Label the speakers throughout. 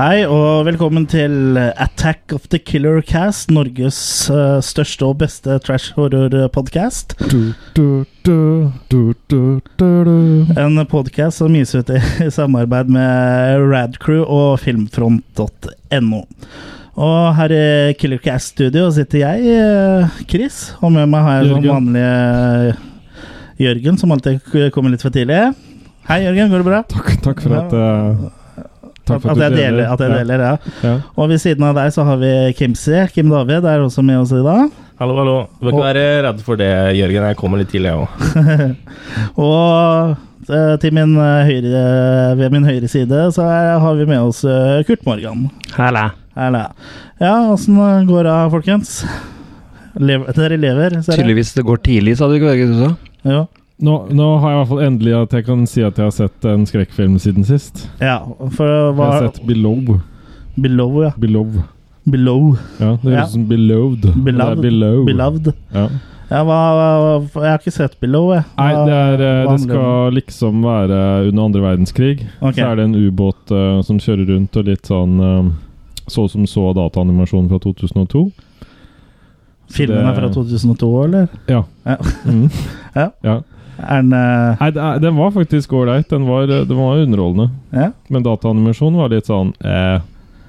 Speaker 1: Hei og velkommen til Attack of the Killer Cast, Norges eh, største og beste trash horror-podkast.
Speaker 2: Du, du, du, du, du, du, du.
Speaker 1: En podkast som gis ut i, i samarbeid med Radcrew og filmfront.no. Og her i Killer Cast Studio sitter jeg, eh, Chris, og med meg har jeg som
Speaker 2: Jørgen.
Speaker 1: vanlig eh, Jørgen, som alltid k- kommer litt for tidlig. Hei, Jørgen. Går det bra?
Speaker 2: Takk, takk for at eh, Takk for
Speaker 1: at,
Speaker 2: at
Speaker 1: jeg
Speaker 2: du deler.
Speaker 1: deler. At jeg
Speaker 2: Ja.
Speaker 1: deler, ja.
Speaker 2: ja.
Speaker 1: Og ved siden av deg så har vi Kimsi. Kim David er også med oss i dag.
Speaker 3: Hallo, hallo. Du bør ikke være redd for det, Jørgen. Jeg kommer litt tidlig, jeg òg.
Speaker 1: Og eh, til min eh, høyre, ved min høyre side så er, har vi med oss eh, Kurt Morgan. Hele. Ja, åssen eh, går det, folkens? Lever, dere lever, ser jeg.
Speaker 4: Tydeligvis det går tidlig, sa du ikke det du sa?
Speaker 1: Jo.
Speaker 2: Nå, nå har jeg i hvert fall endelig at jeg kan si at jeg har sett en skrekkfilm siden sist.
Speaker 1: Ja, for eh,
Speaker 2: Jeg
Speaker 1: hva
Speaker 2: har sett Below.
Speaker 1: Below, ja.
Speaker 2: Below.
Speaker 1: Below.
Speaker 2: Ja, det høres
Speaker 1: Ja.
Speaker 2: ut som Beloved. men det
Speaker 1: Beloved.
Speaker 2: er Below.
Speaker 1: Beloved.
Speaker 2: Ja.
Speaker 1: Ja, hva, hva Jeg har ikke sett Below, jeg.
Speaker 2: Nei, det,
Speaker 1: Hva
Speaker 2: er, eh, det
Speaker 1: handler
Speaker 2: skal liksom være under andre verdenskrig.
Speaker 1: Ok.
Speaker 2: Så er det en ubåt eh, som kjører rundt og litt sånn eh, så som så dataanimasjon fra 2002.
Speaker 1: Filmen er fra
Speaker 2: det-
Speaker 1: 2002, eller?
Speaker 2: Ja.
Speaker 1: Ja.
Speaker 2: Mm.
Speaker 1: Ja.
Speaker 2: ja.
Speaker 1: Er den eh,
Speaker 2: Nei, det er- den var faktisk ålreit. Den, var- eh, den var underholdende.
Speaker 1: Ja?
Speaker 2: Men dataanimasjon var litt sånn eh,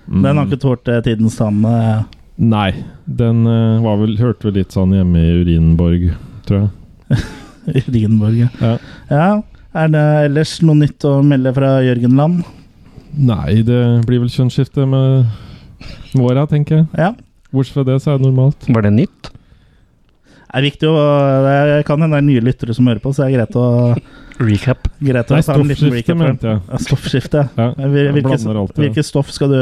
Speaker 2: mm,
Speaker 1: Den har ikke tålt eh, tidens tann. eh.
Speaker 2: Nei. Den eh, var vel, hørte vel litt sånn hjemme i Urinborg, tror jeg.
Speaker 1: Rigenborg, ja.
Speaker 2: Ja.
Speaker 1: ja. Er det ellers noe nytt å melde fra Jørgen Land?
Speaker 2: Nei, det blir vel kjønnsskifte med våra, tenker jeg.
Speaker 1: Ja.
Speaker 2: Bortsett fra det, så er det normalt.
Speaker 4: Var det nytt?
Speaker 1: Det er viktig å Det kan hende det er nye lyttere som hører på, så det er greit å,
Speaker 4: Recap.
Speaker 1: greit å
Speaker 2: Nei,
Speaker 1: ta en liten
Speaker 2: stoffskifte,
Speaker 1: recap.
Speaker 2: mente jeg.
Speaker 1: Ja, Stoffskifte.
Speaker 2: Ja,
Speaker 1: Hvil-
Speaker 2: jeg
Speaker 1: Hvilket,
Speaker 2: blander alt. Ja.
Speaker 1: hvilket stoff skal du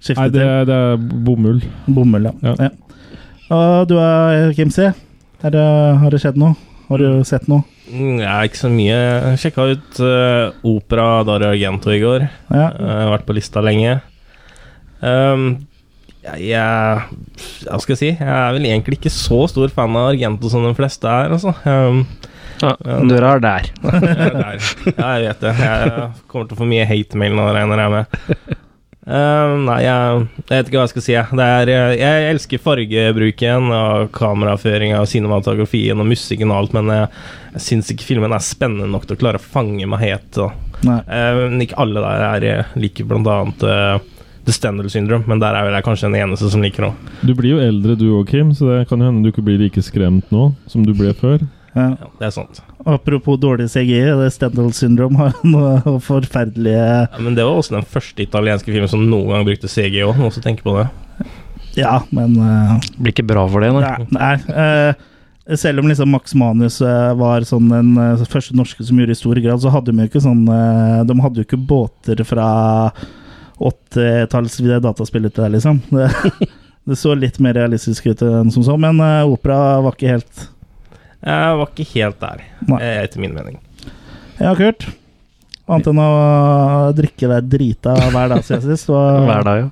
Speaker 1: skifte
Speaker 2: Nei, det, det er bomull.
Speaker 1: til? Bomull, ja.
Speaker 2: Ja.
Speaker 1: ja. Og du er Kimsi. Er det, har det skjedd noe? Har du sett noe?
Speaker 3: Mm, Jeg er ikke så mye. Jeg Sjekka ut eh, opera Dario Argento i går. Eh,
Speaker 1: Ja.
Speaker 3: Jeg har vært på lista lenge. Ehm, jeg, jeg Hva skal jeg si? Jeg er vel egentlig ikke så stor fan av Argento som de fleste er, altså. Ehm,
Speaker 4: Ja, døra er der.
Speaker 3: der. Ja, jeg vet det. Jeg kommer til å få mye hate-mail nå, regner jeg med. Ehm, nei, jeg, jeg vet ikke hva jeg skal si. jeg. Det er, eh, jeg, jeg elsker fargebruken og kameraføringa og cinematografien og musikken og alt, men jeg, jeg syns ikke filmen er spennende nok til å klare å fange meg helt. da.
Speaker 1: Nei.
Speaker 3: Ehm, ikke alle der er jeg liker blant annet eh, The Stendhal Syndrome, men der er vel jeg kanskje den eneste som liker noe.
Speaker 2: Du blir jo eldre du òg, Kim, så det kan jo hende du ikke blir like skremt nå som du ble før.
Speaker 1: Ja.
Speaker 3: Ja, det er sant.
Speaker 1: Apropos dårlig CGI, det er Stendhal syndrom har noe forferdelige
Speaker 3: Ja, men det var også den første italienske filmen som noen gang brukte CG òg, noen som tenker på det.
Speaker 1: Ja, men eh,
Speaker 4: Blir ikke bra for det, nei.
Speaker 1: Nei. nei. eh, selv om liksom Max Manus eh, var sånn den eh, første norske som gjorde i stor grad, så hadde de jo ikke sånn eh, De hadde jo ikke båter fra åttitalls dataspill ut der, liksom. Det, det så litt mer realistisk ut enn som så, men eh, opera var ikke helt
Speaker 3: Jeg var ikke helt der,
Speaker 1: Nei.
Speaker 3: eh, etter min mening.
Speaker 1: Ja, Kurt? Annet enn å drikke deg drita hver dag siden sist. og-
Speaker 4: Hver dag, jo.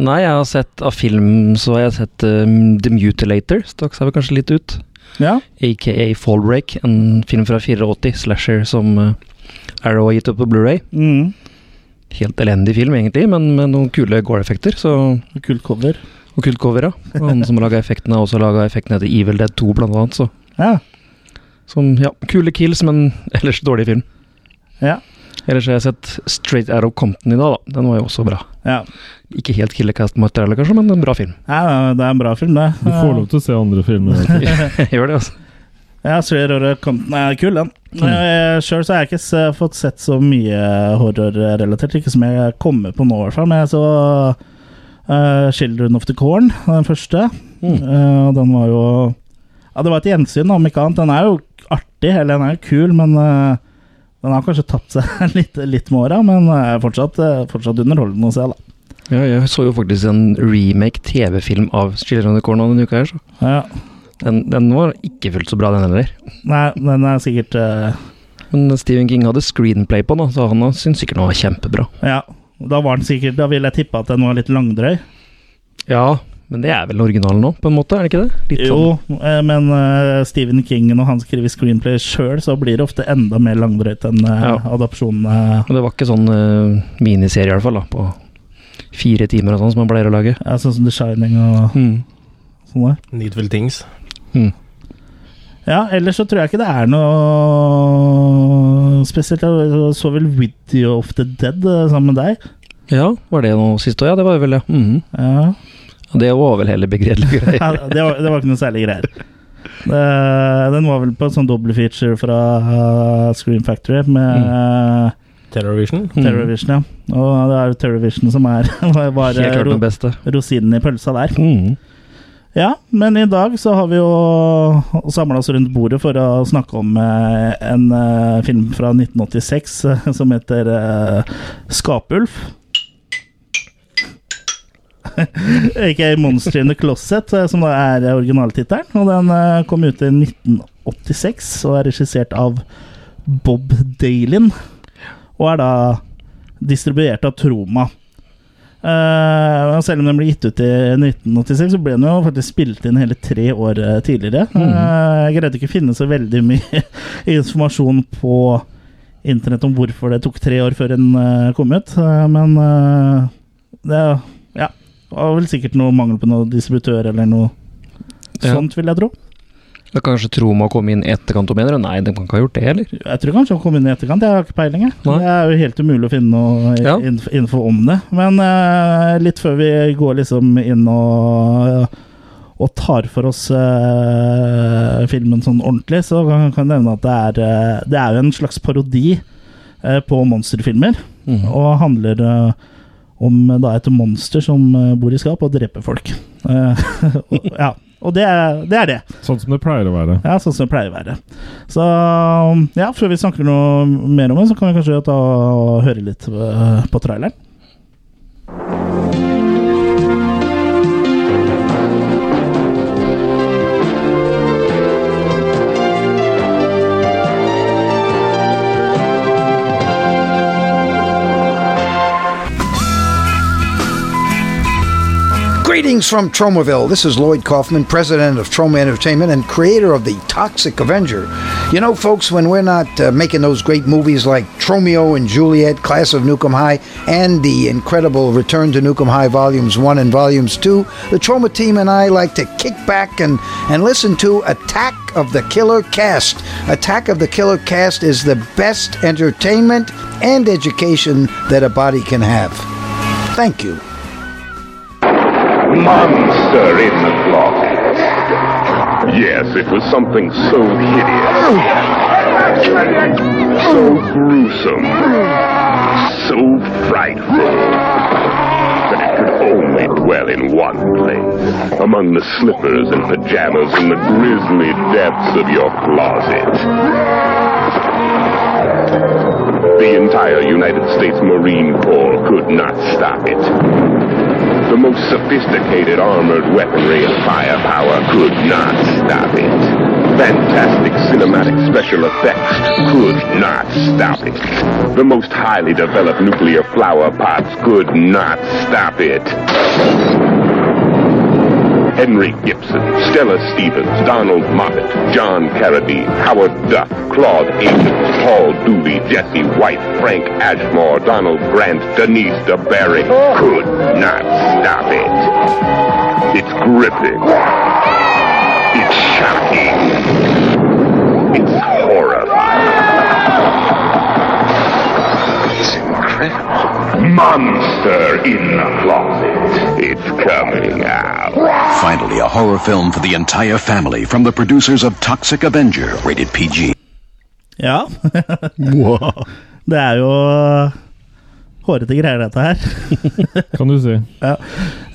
Speaker 4: Nei, jeg har sett av film så har jeg sett um, The Mutilator. Stakk seg vel kanskje litt ut.
Speaker 1: Ja,
Speaker 4: Aka Fallbreak, en film fra 84, slasher som uh, Arrow har gitt ut på Blu-ray.
Speaker 1: mm.
Speaker 4: Helt elendig film, egentlig, men med noen kule gore-effekter. Så,
Speaker 1: Kult cover.
Speaker 4: og kult cover, ja. Og han som har laga effektene, har også laga effektene etter Evil Dead 2, blant annet. Så
Speaker 1: Ja.
Speaker 4: Som, ja, kule kills, men ellers dårlig film.
Speaker 1: Ja.
Speaker 4: Ellers har jeg sett Straight Out of Compton i dag, da. Den var jo også bra.
Speaker 1: ja.
Speaker 4: Ikke helt killercast materiale, kanskje, men en bra film.
Speaker 1: ja det er en bra film, det.
Speaker 2: Du får lov til å se andre filmer. altså.
Speaker 4: Gjør det, altså.
Speaker 1: Ja, Thriller Horror Compton er kul, den. Mm. Sjøl har jeg ikke s- fått sett så mye horrorrelatert. Ikke som jeg kommer på nå, i hvert fall. Men jeg så eh, Children of the Corn, den første.
Speaker 4: Mm.
Speaker 1: Eh, Og den var jo Ja, det var et gjensyn, om ikke annet. Den er jo artig, eller den er jo kul, men eh, den har kanskje tapt seg litt, litt med åra, men er fortsatt, eh, fortsatt underholdende å se, da.
Speaker 4: Ja, jeg så jo faktisk en remake TV-film av Children of the Corn denne uka her, så
Speaker 1: Ja.
Speaker 4: den, den var ikke fullt så bra, den heller.
Speaker 1: Nei, den er sikkert eh,
Speaker 4: Men Stephen King hadde screenplay på den, da, så han syns sikkert den var kjempebra.
Speaker 1: Ja. Da var den sikkert Da ville jeg tippa at den var litt langdrøy.
Speaker 4: Ja, Men det er vel originalen nå, på en måte? er det ikke det? Litt sånn-
Speaker 1: Jo, eh, men eh, Stephen King når han skriver screenplay sjøl, så blir det ofte enda mer langdrøyt enn eh,
Speaker 4: Ja.
Speaker 1: adopsjonene.
Speaker 4: Sånn. Det var ikke sånn eh, miniserie, i hvert fall, da, på fire timer og sånn, som man pleier å lage.
Speaker 1: Ja, sånn som The Shining og
Speaker 4: Mm.
Speaker 1: sånn der.
Speaker 3: Needful Things.
Speaker 4: Mm.
Speaker 1: Ja, ellers så tror jeg ikke det er noe spesielt. Jeg så vel Video of the Dead eh, sammen med deg.
Speaker 4: Ja, var det noe sist òg? Ja, det var vel det. Mhm.
Speaker 1: Ja.
Speaker 4: Ja, Det var vel heller begredelige
Speaker 1: Ja,
Speaker 4: greier.
Speaker 1: det, var, det var ikke noe særlig greier. Eh, den var vel på en sånn doble feature fra eh, Scream Factory med eh,
Speaker 3: Terrorvision.
Speaker 4: Mm.
Speaker 1: Terrorvision, ja. Og det er jo Terrorvision som er bare
Speaker 4: Helt klart
Speaker 1: ro
Speaker 4: den beste.
Speaker 1: rosinen i pølsa der.
Speaker 4: Mhm.
Speaker 1: Ja, men i dag så har vi jo samla oss rundt bordet for å snakke om eh, en eh, film fra 1986 eh, som heter eh, Skapulf. Ikke Monster in the Closet, eh, som da er originaltittelen. Og den eh, kom ut i 1986 og er regissert av Bob Dalin. Og er da distribuert av Troma. Eh, og selv om den ble gitt ut i 1986, så ble den jo faktisk spilt inn hele tre år eh, tidligere.
Speaker 4: Mhm.
Speaker 1: Eh, jeg greide ikke å finne så veldig mye informasjon på internett om hvorfor det tok tre år før den eh, kom ut, Eh, men eh, det ja, var vel sikkert noe mangel på noen distributør eller noe
Speaker 4: Ja.
Speaker 1: sånt, vil jeg tro.
Speaker 4: Da kanskje Troma kom inn i etterkant og mener Nei, den kan ikke ha gjort det, eller?
Speaker 1: Jeg tror kanskje han kom inn i etterkant, jeg har ikke peiling. Jeg.
Speaker 4: Nei.
Speaker 1: Det er jo helt umulig å finne noe i-
Speaker 4: Ja.
Speaker 1: inf- info om det. Men eh, litt før vi går liksom inn og, og tar for oss eh, filmen sånn ordentlig, så kan kan jeg nevne at det er, eh, det er jo en slags parodi eh, på monsterfilmer.
Speaker 4: Mhm.
Speaker 1: Og handler eh, om eh, da et monster som eh, bor i skap og dreper folk. Eh, og, ja, og det er det. Er det.
Speaker 2: Sånn som det pleier å være.
Speaker 1: Ja, sånn som det pleier å være. Så eh, ja, før vi snakker noe mer om det, så kan vi kanskje ta og høre litt eh, på traileren.
Speaker 5: Greetings from Tromaville. This is Lloyd Kaufman, president of Troma Entertainment and creator of the Toxic Avenger. You know, folks, when we're not uh, making those great movies like Tromeo and Juliet, Class of Nukem High, and the incredible Return to Nukem High Volumes 1 and Volumes 2, the Troma team and I like to kick back and, and listen to Attack of the Killer Cast. Attack of the Killer Cast is the best entertainment and education that a body can have. Thank you.
Speaker 6: Monster in the closet. Yes, it was something so hideous, so gruesome, so frightful that it could only dwell in one place, among the slippers and pajamas in the grisly depths of your closet. The entire United States Marine Corps could not stop it. The most sophisticated armored weaponry and firepower could not stop it. Fantastic cinematic special effects could not stop it. The most highly developed nuclear flower pots could not stop it. Henry Gibson, Stella Stevens, Donald Moffat, John Carradine, Howard Duff, Claude Akins, Paul Dooley, Jesse White, Frank Ashmore, Donald Grant, Denise DeBerry could not stop it. It's gripping. It's shocking. It's horrifying. It's incredible. Monster in the closet. It's coming out.
Speaker 7: Finally, a horror film for the entire family from the producers of Toxic Avenger, rated PG.
Speaker 1: Ja. Det er jo eh, hårete greier, dette her.
Speaker 2: Kan du si.
Speaker 1: Ja.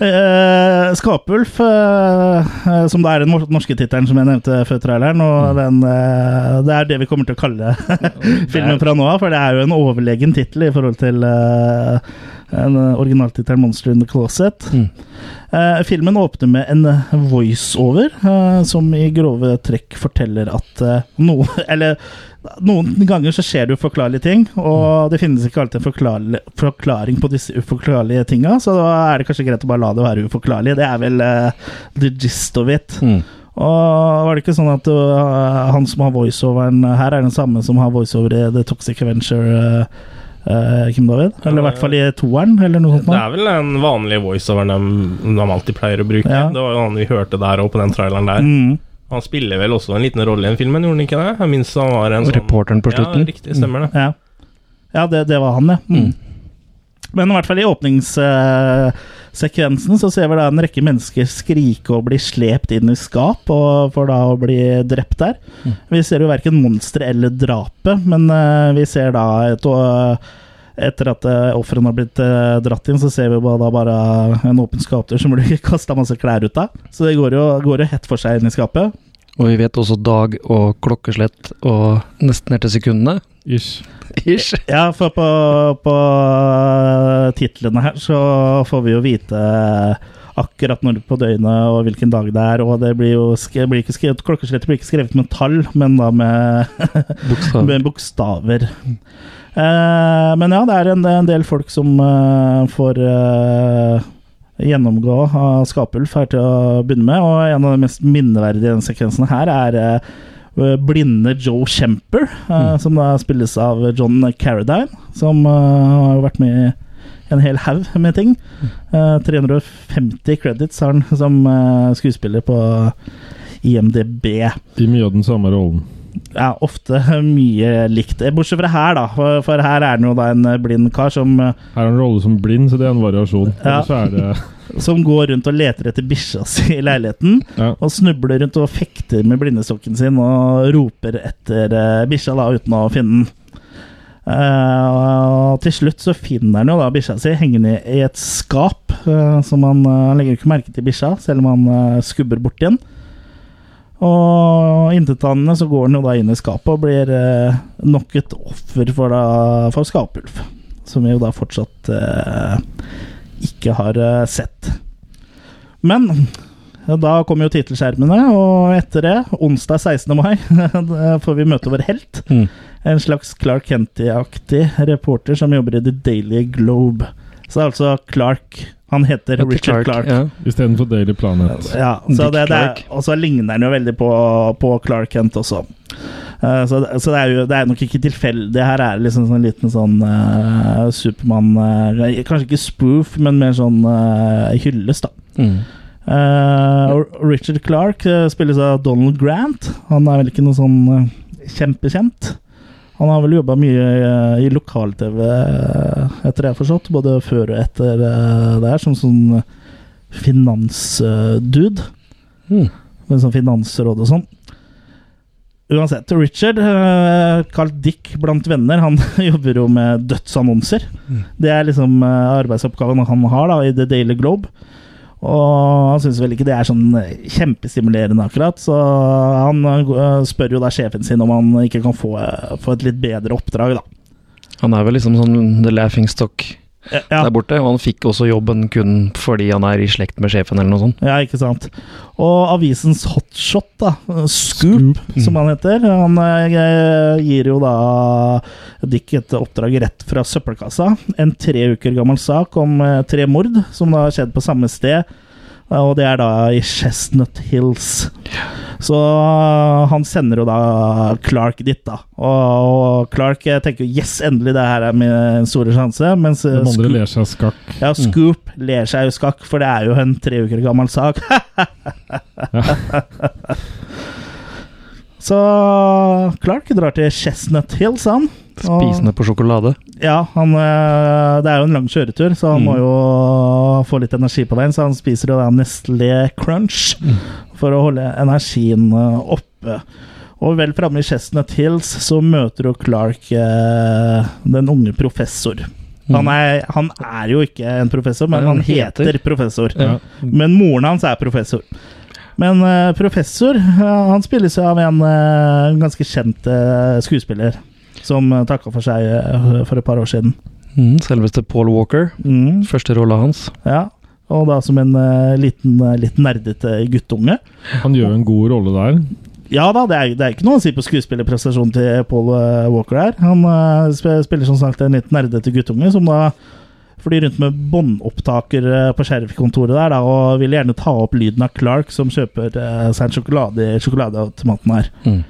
Speaker 1: Eh, Skapulf, eh, eh, som det er den mor- norske tittelen som jeg nevnte før traileren, og den, eh, det er det vi kommer til å kalle filmen fra nå av, for det er jo en overlegen tittel i forhold til eh, En eh, originaltittelen 'Monster in the Closet'.
Speaker 4: Mm.
Speaker 1: Eh, filmen åpner med en eh, voiceover eh, som i grove trekk forteller at eh, noe Eller noen ganger så skjer det uforklarlige ting, og det finnes ikke alltid en forklarlig- forklaring på disse uforklarlige tinga, så da er det kanskje greit å bare la det være uforklarlig. Det er vel eh, the gist of it.
Speaker 4: Mm.
Speaker 1: Og var det ikke sånn at øh, han som har voiceoveren eh, her, er den samme som har voiceover i The Toxic Adventure, øh, øh, Kim David? Eller i hvert fall i toeren, eller noe sånt?
Speaker 3: Det
Speaker 1: Nå.
Speaker 3: er vel den vanlige voiceoveren de, de alltid pleier å bruke.
Speaker 1: Ja.
Speaker 3: Det var jo han vi hørte der òg, på den traileren der.
Speaker 1: Mm.
Speaker 3: Han spiller vel også en liten rolle i den filmen, gjorde han ikke det? Jeg minst han var en
Speaker 4: Og
Speaker 3: sånn
Speaker 4: reporteren på slutten.
Speaker 3: Ja, riktig, stemmer det.
Speaker 1: Ja, ja det, det var han, ja. Mm.
Speaker 4: Mm.
Speaker 1: Men i hvert fall i åpningssekvensen eh, så ser vi da en rekke mennesker skrike og bli slept inn i skap, og for da å bli drept der. Vi ser jo verken monstre eller drapet, men eh, vi ser da et, og, Etter at uh, ofrene har blitt eh, dratt inn, så ser vi bare, da bare en åpen skapdør som blir kasta masse klær ut av. Så det går jo, går jo hett for seg inn i skapet.
Speaker 4: Og vi vet også dag og klokkeslett og nesten helt til sekundene.
Speaker 2: Ish.
Speaker 4: Ish.
Speaker 1: Ja, for på, på eh, titlene her så får vi jo vite akkurat når på døgnet og hvilken dag det er. Og det blir jo sk- blir ikke skrevet, klokkeslettet blir ikke skrevet med tall, men da med,
Speaker 4: Bokstav.
Speaker 1: med bokstaver. Eh, men ja, det er en, en del folk som eh, får eh, gjennomgå av Skapulf her til å begynne med. Og en av de mest minneverdige i denne sekvensen her er eh, blinde Joe Kjemper, eh, som da spilles av John Carradine, som eh, har jo vært med i en hel haug med ting. Eh, 350 credits har han som eh, skuespiller på IMDb
Speaker 2: I mye av den samme rollen.
Speaker 1: ja, ofte mye likt. Eh, Bortsett fra her, da. For, for her er det jo da en eh, blind kar som, eh,
Speaker 2: Her er en rolle som blind, så det er en variasjon.
Speaker 1: Ja.
Speaker 2: Ellers er det
Speaker 1: som går rundt og leter etter bikkja si i leiligheten.
Speaker 2: ja.
Speaker 1: Og snubler rundt og fekter med blindestokken sin og roper etter eh, bikkja da, uten å finne den. Eh, og til slutt så finner han jo da bikkja si hengende i et skap, eh, som han, eh, han legger jo ikke merke til bikkja, selv om han eh, skubber bort igjen. Og intetanende så går han jo da inn i skapet og blir eh, nok et offer for, da, for skapulv. Som vi jo da fortsatt eh, ikke har eh, sett. Men da kommer jo tittelskjermene, og etter det, onsdag 16. mai, da får vi møte vår helt.
Speaker 4: Mm.
Speaker 1: En slags Clark Kenty-aktig reporter som jobber i The Daily Globe. Så det er altså Clark Han heter Richard Clark.
Speaker 4: Ja.
Speaker 2: Istedenfor Daily Planet.
Speaker 1: Ja, så
Speaker 4: Dick
Speaker 1: det, det er,
Speaker 4: Clark.
Speaker 1: og så ligner han jo veldig på, på Clark Kent også. Eh, så det, så det, er jo, det er nok ikke tilfeldig. Her er det liksom sånn liten sånn eh, Supermann eh, Kanskje ikke spoof, men mer sånn uh, hyllest, da.
Speaker 4: Mm.
Speaker 1: Eh, og Richard Clark eh, spilles av Donald Grant. Han er vel ikke noe sånn eh, kjempekjent. Han har vel jobba mye eh, i lokal-TV, eh, etter det jeg har forstått, både før og etter eh, det her, som sånn finansdude
Speaker 4: Mm.
Speaker 1: med sånn finansråd og sånn. Uansett, Richard, eh, kalt Dick blant venner, han jobber jo med dødsannonser. Det er liksom eh, arbeidsoppgaven han har da, i The Daily Globe. Og han syns vel ikke det er sånn eh, kjempestimulerende, akkurat. Så han eh, spør jo da sjefen sin om han ikke kan få, eh, få et litt bedre oppdrag, da.
Speaker 4: Han er vel liksom sånn the laughing stock
Speaker 1: Eh, Ja,
Speaker 4: der borte, og han fikk også jobben kun fordi han er i slekt med sjefen eller noe sånt.
Speaker 1: Ja, ikke sant. Og avisens hotshot, da, Scoop, som han heter, han eh, gir jo da Dick et oppdrag rett fra søppelkassa. En tre uker gammel sak om eh, tre mord som da har skjedd på samme sted. eh, Og det er da i Chestnut Hills. Så eh, han sender jo da Clark dit, da. Og, og Clark eh, tenker jo 'yes, endelig, det her er min store sjanse', mens eh,
Speaker 2: De andre
Speaker 1: Scoop-
Speaker 2: ler seg skakk.
Speaker 1: ja, Scoop ler seg jo skakk, for det er jo en tre uker gammel sak. Så Clark drar til Chestnut Hills, han. Og-
Speaker 4: Spisende på sjokolade.
Speaker 1: Ja, han, eh, det er jo en lang kjøretur, så han
Speaker 4: Mm.
Speaker 1: må jo få litt energi på veien. Så han spiser jo da Nestlé Crunch for å holde energien eh, oppe. Og vel framme i Chestnut Hills så møter jo Clark eh, den unge professor. Han er, han er jo ikke en professor, men
Speaker 4: Nei,
Speaker 1: han
Speaker 4: han
Speaker 1: heter,
Speaker 4: heter.
Speaker 1: professor.
Speaker 2: Ja.
Speaker 1: Men moren hans er professor. Men eh, professor eh, han spilles jo av en eh, ganske kjent eh, skuespiller som uh, takka eh, for seg eh, for et par år siden.
Speaker 4: Mm, selveste Paul Walker.
Speaker 1: Mm,
Speaker 4: Første rolla hans.
Speaker 1: ja. Og da som en eh, liten, eh, litt nerdete guttunge.
Speaker 2: Han gjør en god rolle der.
Speaker 1: Ja da, det er, det er ikke noe å si på skuespillerprestasjonen til Paul eh, Walker her. Han eh, sp- spiller som sagt en litt nerdete guttunge som da flyr rundt med båndopptaker eh, på sheriffkontoret der da, og vil gjerne ta opp lyden av Clark som kjøper eh, seg en sjokolade i sjokoladeautomaten her.
Speaker 4: Mm.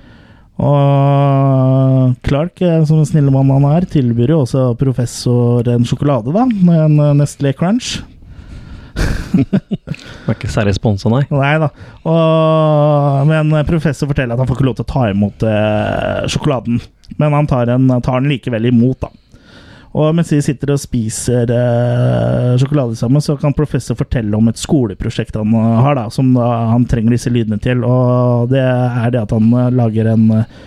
Speaker 1: Og Clark, eh, som den snille mann han er, tilbyr jo også professor en sjokolade, da. En eh, Nestlé Crunch.
Speaker 4: Han er ikke særlig sponsa, nei.
Speaker 1: Nei da. Og, men professor forteller at han får ikke lov til å ta imot eh, sjokoladen. Men han tar, en, tar den likevel imot, da. Og mens de sitter og spiser eh, sjokolade sammen, så kan professor fortelle om et skoleprosjekt han eh, har, da, som da, han trenger disse lydene til. Og det er det at han eh, lager en eh,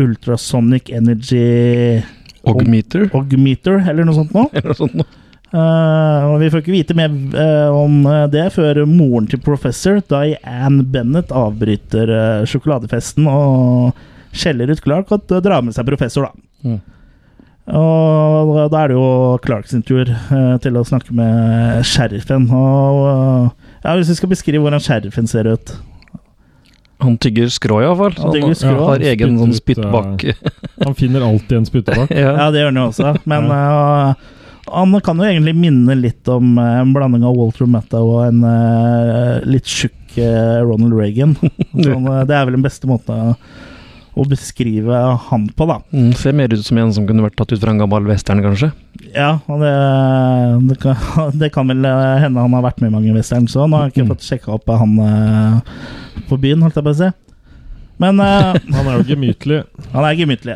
Speaker 1: ultrasonic energy
Speaker 4: Ogmeter?
Speaker 1: ogmeter, eller noe sånt nå
Speaker 4: Eller noe sånt noe.
Speaker 1: Eh, og vi får ikke vite mer eh, om eh, det før moren til professor, Diane Bennett, avbryter eh, sjokoladefesten og skjeller ut Clark og d- drar med seg professor, da.
Speaker 4: Mm.
Speaker 1: Og da er det jo Clark sin tur eh, til å snakke med sheriffen. Og eh, ja, Hvis vi skal beskrive hvordan sheriffen ser ut
Speaker 4: Han tygger skrå, iallfall.
Speaker 1: Han tygger skrå.
Speaker 4: har egen sånn
Speaker 2: Spytter ut,
Speaker 4: spyttbakke.
Speaker 2: Han finner alltid en spyttebakk.
Speaker 4: ja.
Speaker 1: Ja, det gjør han jo også, men eh, han kan jo egentlig minne litt om eh, en blanding av Walter Matta og en eh, litt tjukk eh, Ronald Reagan. Sånn, eh, det er vel den beste måten å, å beskrive han på, da.
Speaker 4: Mm, ser mer ut som en som kunne vært tatt ut fra en gammel western, kanskje.
Speaker 1: Ja, og det, det, kan, det kan vel eh, hende han har vært med i mange westerns òg. Nå har jeg
Speaker 2: Mm.
Speaker 1: ikke fått sjekka opp han eh, på byen, holdt jeg på å si. Men eh,
Speaker 2: Han er jo gemytlig.
Speaker 1: Han er gemytlig.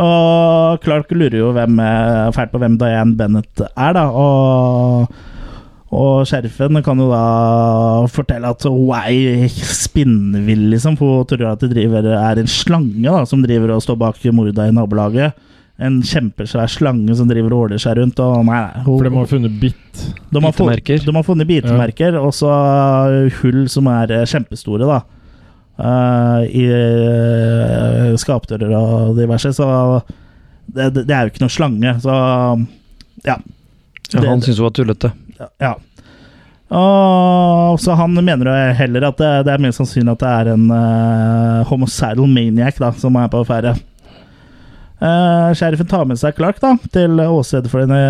Speaker 1: Og Clark lurer jo hvem, eh, fælt på hvem Diane Bennett er, da. Og, og sheriffen kan jo da fortelle at hun er spinnvill, liksom. For hun tror at det driver, er en slange da, som driver og står bak morda i nabolaget. En kjempesvær slange som driver og åler seg rundt. Og nei, nei, hun,
Speaker 2: For de har funnet bitt.
Speaker 1: de har, funnet,
Speaker 4: Bitemerker.
Speaker 1: de har funnet bitemerker, og så hull som er eh, kjempestore, da. Eh, I eh, skapdører og diverse, så det, det det er jo ikke noe slange, så ja.
Speaker 4: Ja,
Speaker 1: Det-
Speaker 4: han
Speaker 1: det-
Speaker 4: syns hun var tullete.
Speaker 1: ja. Og så han mener jo heller at det, det er mer sannsynlig at det er en uh, homocidal maniac da, som er på affære. Eh, sheriffen tar med seg Clark da, til åstedet for det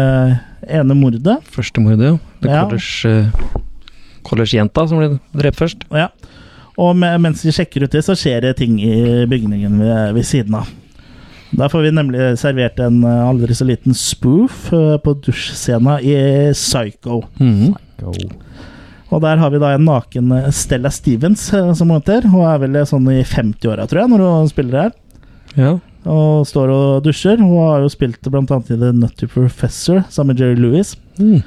Speaker 1: ene mordet.
Speaker 4: Førstemordet, ja. Det
Speaker 1: Ja.
Speaker 4: college... College-jenta som ble drept først.
Speaker 1: Ja. Og me- mens vi sjekker ut det, så skjer det ting i bygningen ved, ved siden av. Der får vi nemlig servert en eh, aldri så liten spoof eh, på dusjscena i Psycho.
Speaker 4: Mhm.
Speaker 1: Og der har vi da en naken eh, Stella Stevens eh, som hun heter. Hun er vel eh, sånn i 50-åra, tror jeg, når hun spiller her.
Speaker 4: Ja.
Speaker 1: Og står og dusjer. Hun har jo spilt bl.a. i The Nutty Professor sammen med Jerry Lewis.
Speaker 4: Mm.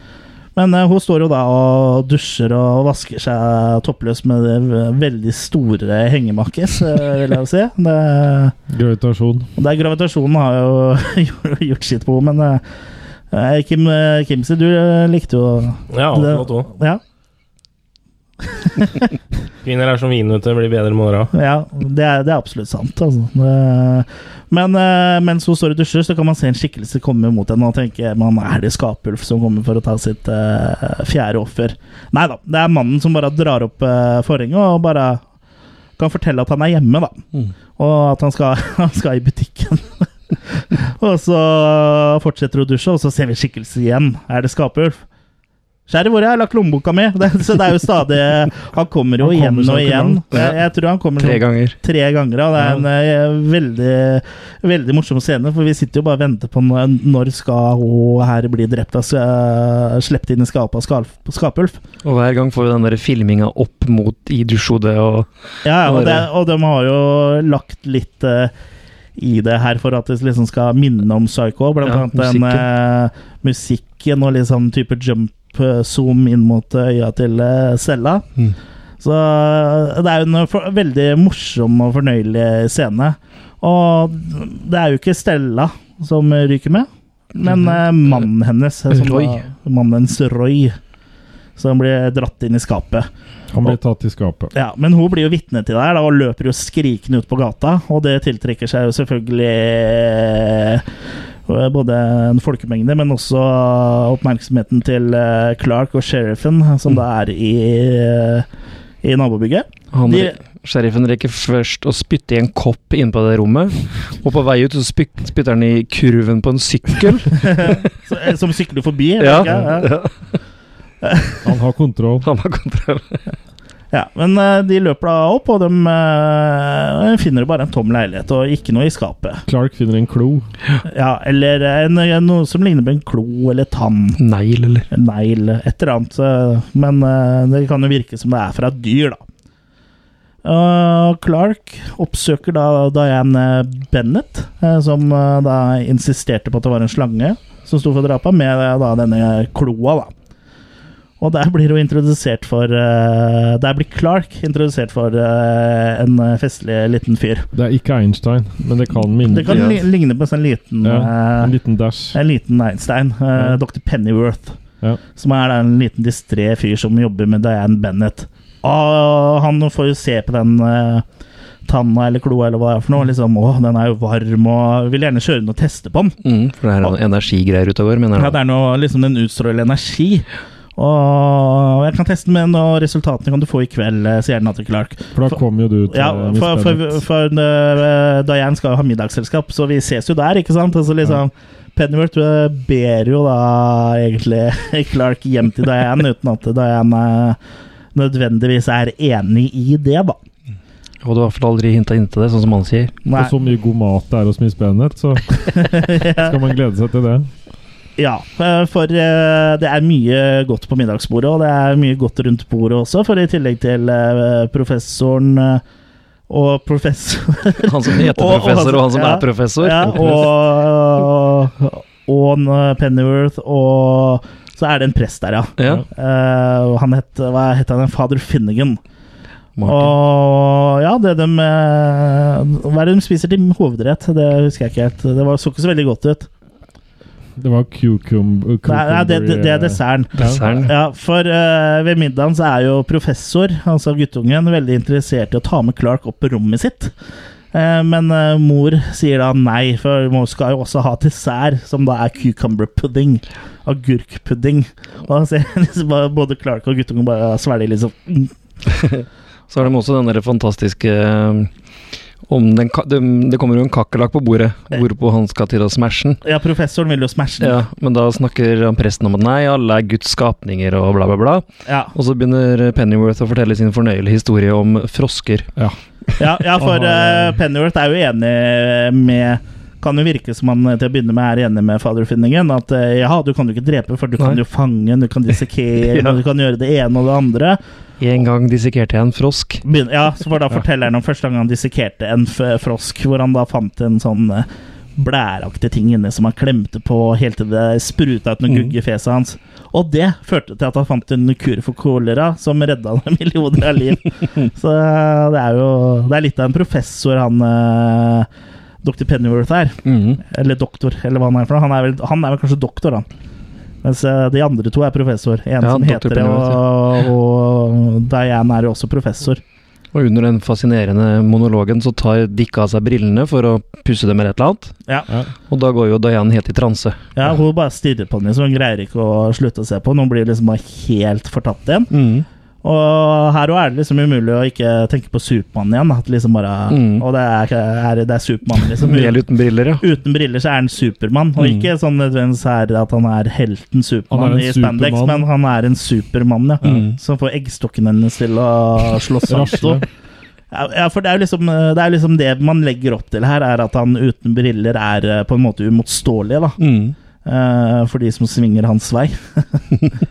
Speaker 1: Men eh, hun står jo da og dusjer og vasker seg toppløs med det ve- veldig store hengemakkes, eh, vil jeg jo si. Det,
Speaker 2: Gravitasjon.
Speaker 1: og der gravitasjonen har jo gjort- gjort sitt på henne, men eh, eh, Kim, eh, Kimsey, du eh, likte jo
Speaker 3: Ja,
Speaker 1: det-
Speaker 3: nå to.
Speaker 1: ja,
Speaker 3: Kvinner er som vin, vet du. Blir bedre med åra.
Speaker 1: ja, det er, det er absolutt sant, altså. Det- Men eh, mens hun står og dusjer, så kan man se en skikkelse komme mot henne og tenke man er det Skapulf som kommer for å ta sitt eh, fjerde offer. Nei da, det er mannen som bare drar opp eh, forhenget og bare kan fortelle at han er hjemme, da.
Speaker 4: Mm.
Speaker 1: Og at han skal, han skal i butikken. og så fortsetter hun å dusje, og så ser vi skikkelse igjen. Er det Skapulf? Skjæret, hvor har jeg lagt lommeboka mi? Det, så det er jo stadig Han kommer jo
Speaker 2: Han kommer
Speaker 1: igjen
Speaker 2: seg
Speaker 1: og
Speaker 2: ikke
Speaker 1: igjen.
Speaker 2: langt.
Speaker 1: Jeg, jeg tror han kommer
Speaker 4: Tre
Speaker 1: sånn
Speaker 4: ganger.
Speaker 1: tre ganger. Og det er en eh, veldig, veldig morsom scene, for vi sitter jo bare og venter på når, når skal hun her bli drept av uh, slept inn i skapet av skal, Skapulf.
Speaker 4: Og hver gang får vi den der filminga opp mot i dusjhodet og
Speaker 1: Ja, ja, og,
Speaker 4: Det
Speaker 1: det,
Speaker 4: var det.
Speaker 1: og de har jo lagt litt eh, i det her for at det liksom skal minne om Psycho, blant
Speaker 4: Ja,
Speaker 1: annet den eh, musikken og liksom type jump eh, zoom inn mot eh, øya til eh, cella.
Speaker 4: Mm.
Speaker 1: Så eh, det er jo en for, veldig morsom og fornøyelig scene. Og det er jo ikke Stella som ryker med, men eh, mannen hennes. eh, Som
Speaker 4: Mhm. Roy.
Speaker 1: Da, mannen hennes Roy. Som blir dratt inn i skapet.
Speaker 2: Han blir tatt i skapet.
Speaker 1: Ja, Men hun blir jo vitne til det her da, og løper jo skrikende ut på gata. Og det tiltrekker seg jo selvfølgelig eh, både en folkemengde, men også oppmerksomheten til eh, Clark og sheriffen, som da er i, eh, i nabobygget.
Speaker 4: Han,
Speaker 1: De-
Speaker 4: Sheriffen rekker først å spytte i en kopp inne på det rommet, og på vei ut så spy- spytter han i kurven på en sykkel.
Speaker 1: Så- eh, Som sykler forbi. jeg
Speaker 4: Ja.
Speaker 1: vet ikke, ja.
Speaker 2: Han har kontroll.
Speaker 4: Han har kontroll.
Speaker 1: Ja, men eh, de løper da opp, og de eh, finner bare en tom leilighet og ikke noe i skapet.
Speaker 2: Clark finner en klo.
Speaker 1: Ja, Eller en, en, noe som ligner på en klo eller tann,
Speaker 4: Negl, eller?
Speaker 1: en negl, et eller annet. eh, Men eh, det kan jo virke som det er fra et dyr, da. Eh, Clark oppsøker da Diane Bennett, eh, som eh, da insisterte på at det var en slange som sto for drapet, med eh, da denne kloa, da. Og der blir hun introdusert for eh, Der blir Clark introdusert for eh, en eh, festlig liten fyr.
Speaker 2: Det er ikke Einstein, men det kan minne.
Speaker 1: Det kan li ligne på en sånn liten
Speaker 2: ja,
Speaker 1: eh,
Speaker 2: En liten dash.
Speaker 1: en liten Einstein, eh,
Speaker 2: Ja.
Speaker 1: Dr. Pennyworth,
Speaker 2: Ja.
Speaker 1: som er da en liten distré fyr som jobber med Diane Bennett. Og han får jo se på den eh, tanna eller kloa eller hva det er for noe. Liksom, Å, den er jo varm, og vil gjerne kjøre den og teste på den.
Speaker 4: Mm, for det er noen energigreier ute og går, mener
Speaker 1: Ja,
Speaker 4: han.
Speaker 1: det er noe, liksom den utstråler energi. Og jeg kan teste den, men og resultatene kan du få i kveld, eh, sier Natter Clark.
Speaker 2: For da
Speaker 1: for-
Speaker 2: kommer jo du til
Speaker 1: Ja,
Speaker 2: eh, Miss
Speaker 1: for, for,
Speaker 2: Bennett.
Speaker 1: for eh, Diane skal jo ha middagsselskap, så vi ses jo der, ikke sant? Altså liksom Pennyworth eh, ber jo da egentlig Clark hjem til Diane, uten at Diane eh, nødvendigvis er enig i det, da.
Speaker 4: Og du har i hvert fall aldri hinta inn til det, sånn som han sier.
Speaker 1: Nei.
Speaker 2: Og så mye god mat det er hos Miss Bennett, så skal man glede seg til det.
Speaker 1: Ja, eh, for eh, det er mye godt på middagsbordet, og det er mye godt rundt bordet også, for i tillegg til eh, professoren eh, og professor
Speaker 4: Han som heter
Speaker 1: Og- og han
Speaker 4: professor, og han som
Speaker 1: ja,
Speaker 4: er professor.
Speaker 1: ja, og, og eh, Pennyworth, og så er det en prest der, ja.
Speaker 4: Ja,
Speaker 1: Eh, og han het, hva het han? Fader Finnegan.
Speaker 4: Martin.
Speaker 1: Og ja, det de eh, Hva er det de spiser til hovedrett? Det husker jeg ikke helt. Det var, så ikke så veldig godt ut.
Speaker 2: Det var cucumber
Speaker 1: Nei, nei det, det, det
Speaker 2: eh,
Speaker 1: er desserten.
Speaker 4: Desserten.
Speaker 1: Ja, for eh, ved middagen så er jo professor, altså guttungen, veldig interessert i å ta med Clark opp på rommet sitt. Eh, men eh, mor sier da nei, for mor skal jo også ha dessert, som da er cucumber pudding. Agurkpudding. Og da ser jeg liksom bare- både Clark og guttungen bare svelger liksom mm,
Speaker 4: Så har de også den der fantastiske eh, om den, ka- det, det kommer jo en kakerlakk på bordet, hvorpå han skal til å smashe den.
Speaker 1: Ja, professoren vil jo smashe den.
Speaker 4: Ja, men da snakker han presten om at nei, alle er Guds skapninger og bla, bla, bla.
Speaker 1: Ja,
Speaker 4: Og så begynner Pennyworth å fortelle sin fornøyelige historie om frosker.
Speaker 1: ja, ja for
Speaker 2: Aha.
Speaker 1: eh, Pennyworth er jo enig med Kan jo virke som han eh, til å begynne med er enig med Father Finningen. At eh, ja, du kan jo ikke drepe, for du kan
Speaker 4: Nei.
Speaker 1: jo fange, du kan dissekere,
Speaker 4: Ja.
Speaker 1: du kan gjøre det ene og det andre.
Speaker 4: En gang dissekerte jeg en frosk.
Speaker 1: Begyn ja, så for da forteller han om første gang han dissekerte en f frosk, hvor han da fant en sånn eh, blæraktig ting inni som han klemte på helt til det spruta
Speaker 4: Mm.
Speaker 1: ut noe gugg i fjeset hans. Og det førte til at han fant en kur for kolera, som redda han millioner av liv. Så eh, det er jo Det er litt av en professor, han eh, Dr. Pennyworth her. Eller doktor, eller hva han er for noe. Han er vel, han er vel kanskje doktor, han. Mens eh, de andre to er professor. En
Speaker 4: Ja,
Speaker 1: som
Speaker 4: Dr.
Speaker 1: heter det, og, og Diane er jo også professor.
Speaker 4: Og under den fascinerende monologen så tar Dick av seg brillene for å pusse dem med et eller annet.
Speaker 2: Ja.
Speaker 4: Og da går jo Diane helt i transe.
Speaker 1: Ja, hun bare stirrer på den, liksom. Hun greier ikke å slutte å se på den. Hun blir liksom bare helt fortatt igjen. Og her òg er det liksom umulig å ikke tenke på Supermann igjen. At liksom bare
Speaker 4: Mm.
Speaker 1: Og det er, er, det er Supermann, liksom.
Speaker 4: Del uten briller, ja.
Speaker 1: Uten briller så er han Supermann, og
Speaker 4: Mm.
Speaker 1: ikke sånn nødvendigvis er det at han er helten
Speaker 2: Han
Speaker 1: Supermann
Speaker 2: er en
Speaker 1: i spandex,
Speaker 2: Superman.
Speaker 1: men han er en Supermann, ja.
Speaker 4: Mm.
Speaker 1: Som får eggstokken hennes til å slåss
Speaker 2: eh, Rasle.
Speaker 1: sammen. Ja, for det er, jo liksom, det er jo liksom det man legger opp til her, er at han uten briller er eh, på en måte uimotståelig, da. Eh, for de som svinger hans vei.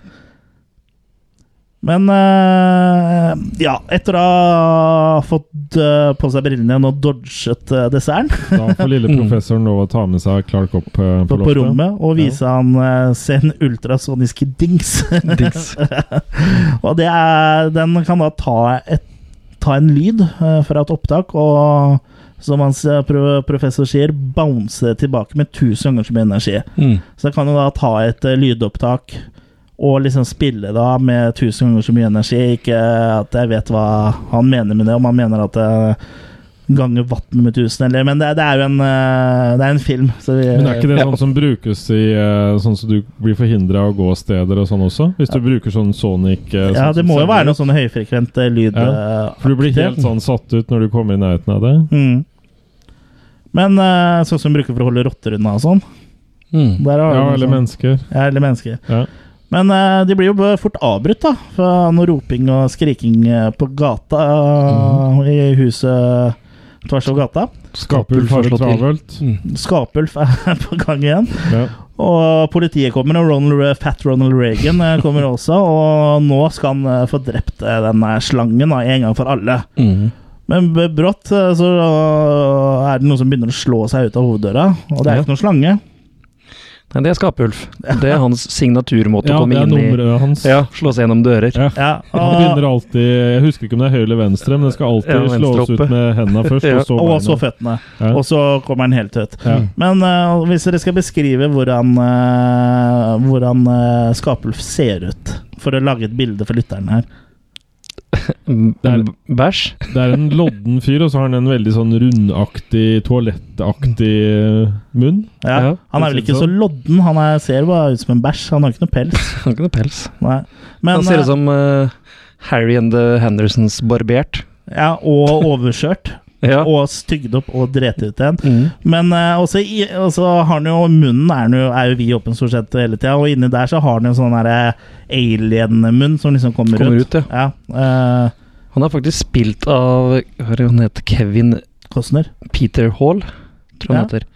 Speaker 1: Men eh, ja, etter å ha fått eh, på seg brillene igjen og dodget eh, desserten,
Speaker 2: Da får lille professoren lov å ta med seg Clark opp eh, på,
Speaker 1: Mm. på, på
Speaker 2: loftet.
Speaker 1: rommet og vise han eh, sin ultrasoniske dings.
Speaker 4: Dings.
Speaker 1: og det er, den kan da ta, et, ta en lyd eh, fra et opptak, og som hans eh, pro- professor sier, bounce det tilbake med 1000 ganger så mye energi. Så den kan jo da ta et eh, lydopptak og liksom spille da med 1000 ganger så mye energi. Ikke at jeg vet hva han mener med det, om han mener at eh, ganger vannet med 1000, eller Men det, det er jo en, eh, det er en film. Så vi,
Speaker 2: Men er ikke det sånn som brukes i eh, Sånn som du blir forhindra å gå steder og sånn også? Hvis du bruker sånn sonic eh,
Speaker 1: ja,
Speaker 2: sånn
Speaker 1: det
Speaker 2: som
Speaker 1: må jo
Speaker 2: sender
Speaker 1: være
Speaker 2: ut.
Speaker 1: noe sånn høyfrekvent eh, lyd.
Speaker 2: Ja,
Speaker 1: eh,
Speaker 2: For du blir helt
Speaker 1: aktivitet.
Speaker 2: sånn satt ut når du kommer i nærheten av det?
Speaker 1: Mm. Men eh, sånn som de bruker for å holde rotter unna og sånn.
Speaker 4: Mm.
Speaker 1: Der har
Speaker 2: Ja,
Speaker 1: du
Speaker 2: eller
Speaker 1: sånn.
Speaker 2: mennesker.
Speaker 1: Ja, eller mennesker.
Speaker 2: Ja.
Speaker 1: Men eh, de blir jo b- fort avbrutt da fra noe roping og skriking eh, på gata
Speaker 2: Mhm.
Speaker 1: eh, i huset tvers over gata.
Speaker 2: Skapulf har det travelt.
Speaker 4: Mm.
Speaker 1: Skapulf er på gang igjen.
Speaker 2: Ja.
Speaker 1: Og politiet kommer, og Ronald, Fat Ronald Reagan eh, kommer også. Og nå skal han eh, få drept eh, denne slangen da, en gang for alle.
Speaker 4: Mm.
Speaker 1: Men b- brått eh, så eh, er det noen som begynner å slå seg ut av hoveddøra, og det er
Speaker 4: Ja.
Speaker 1: ikke noen slange.
Speaker 4: Nei, det er Skapulf. Det er hans signaturmåte
Speaker 2: ja,
Speaker 4: å komme
Speaker 2: det er
Speaker 4: inn i
Speaker 2: nummeret hans.
Speaker 4: Ja, slå seg gjennom dører.
Speaker 2: Ja.
Speaker 1: Ja,
Speaker 2: Han begynner alltid Jeg husker ikke om det er høyre eller venstre, men det skal alltid
Speaker 4: Ja, venstre
Speaker 2: slås
Speaker 4: oppe.
Speaker 2: ut med hendene først,
Speaker 4: Ja.
Speaker 2: og så
Speaker 1: og så
Speaker 2: beina.
Speaker 1: føttene.
Speaker 2: Ja.
Speaker 1: Og så kommer han helt ut.
Speaker 2: Ja.
Speaker 1: Men eh, hvis dere skal beskrive hvordan, eh, hvordan eh, Skapulf ser ut, for å lage et bilde for lytterne her
Speaker 4: Mm,
Speaker 2: Der.
Speaker 4: Bæsj.
Speaker 2: Det er en lodden fyr, og så har han en veldig sånn rundaktig, toalettaktig eh, munn.
Speaker 1: ja.
Speaker 4: Ja,
Speaker 1: Han er vel ikke så lodden, han er, ser bare ut som en bæsj. Han har ikke noe pels.
Speaker 4: Han har ikke noe pels.
Speaker 1: Nei. Men,
Speaker 4: han ser
Speaker 1: eh,
Speaker 4: ut som eh, Harry and the Hendersons barbert.
Speaker 1: eh, ja, og overskjørt.
Speaker 4: Ja.
Speaker 1: Og stygd opp og dret ut igjen.
Speaker 4: Mm.
Speaker 1: Men eh, også, i, også har han jo Munnen er, han jo, er jo vid åpen stort sett hele tida, og inni der så har han jo sånn derre alien-munn som liksom kommer,
Speaker 4: Kommer ut, ja.
Speaker 1: Ja, eh,
Speaker 4: Han er faktisk spilt av Hva er det han heter? Kevin
Speaker 1: Costner.
Speaker 4: Peter Hall, tror jeg
Speaker 1: Ja.
Speaker 4: han heter.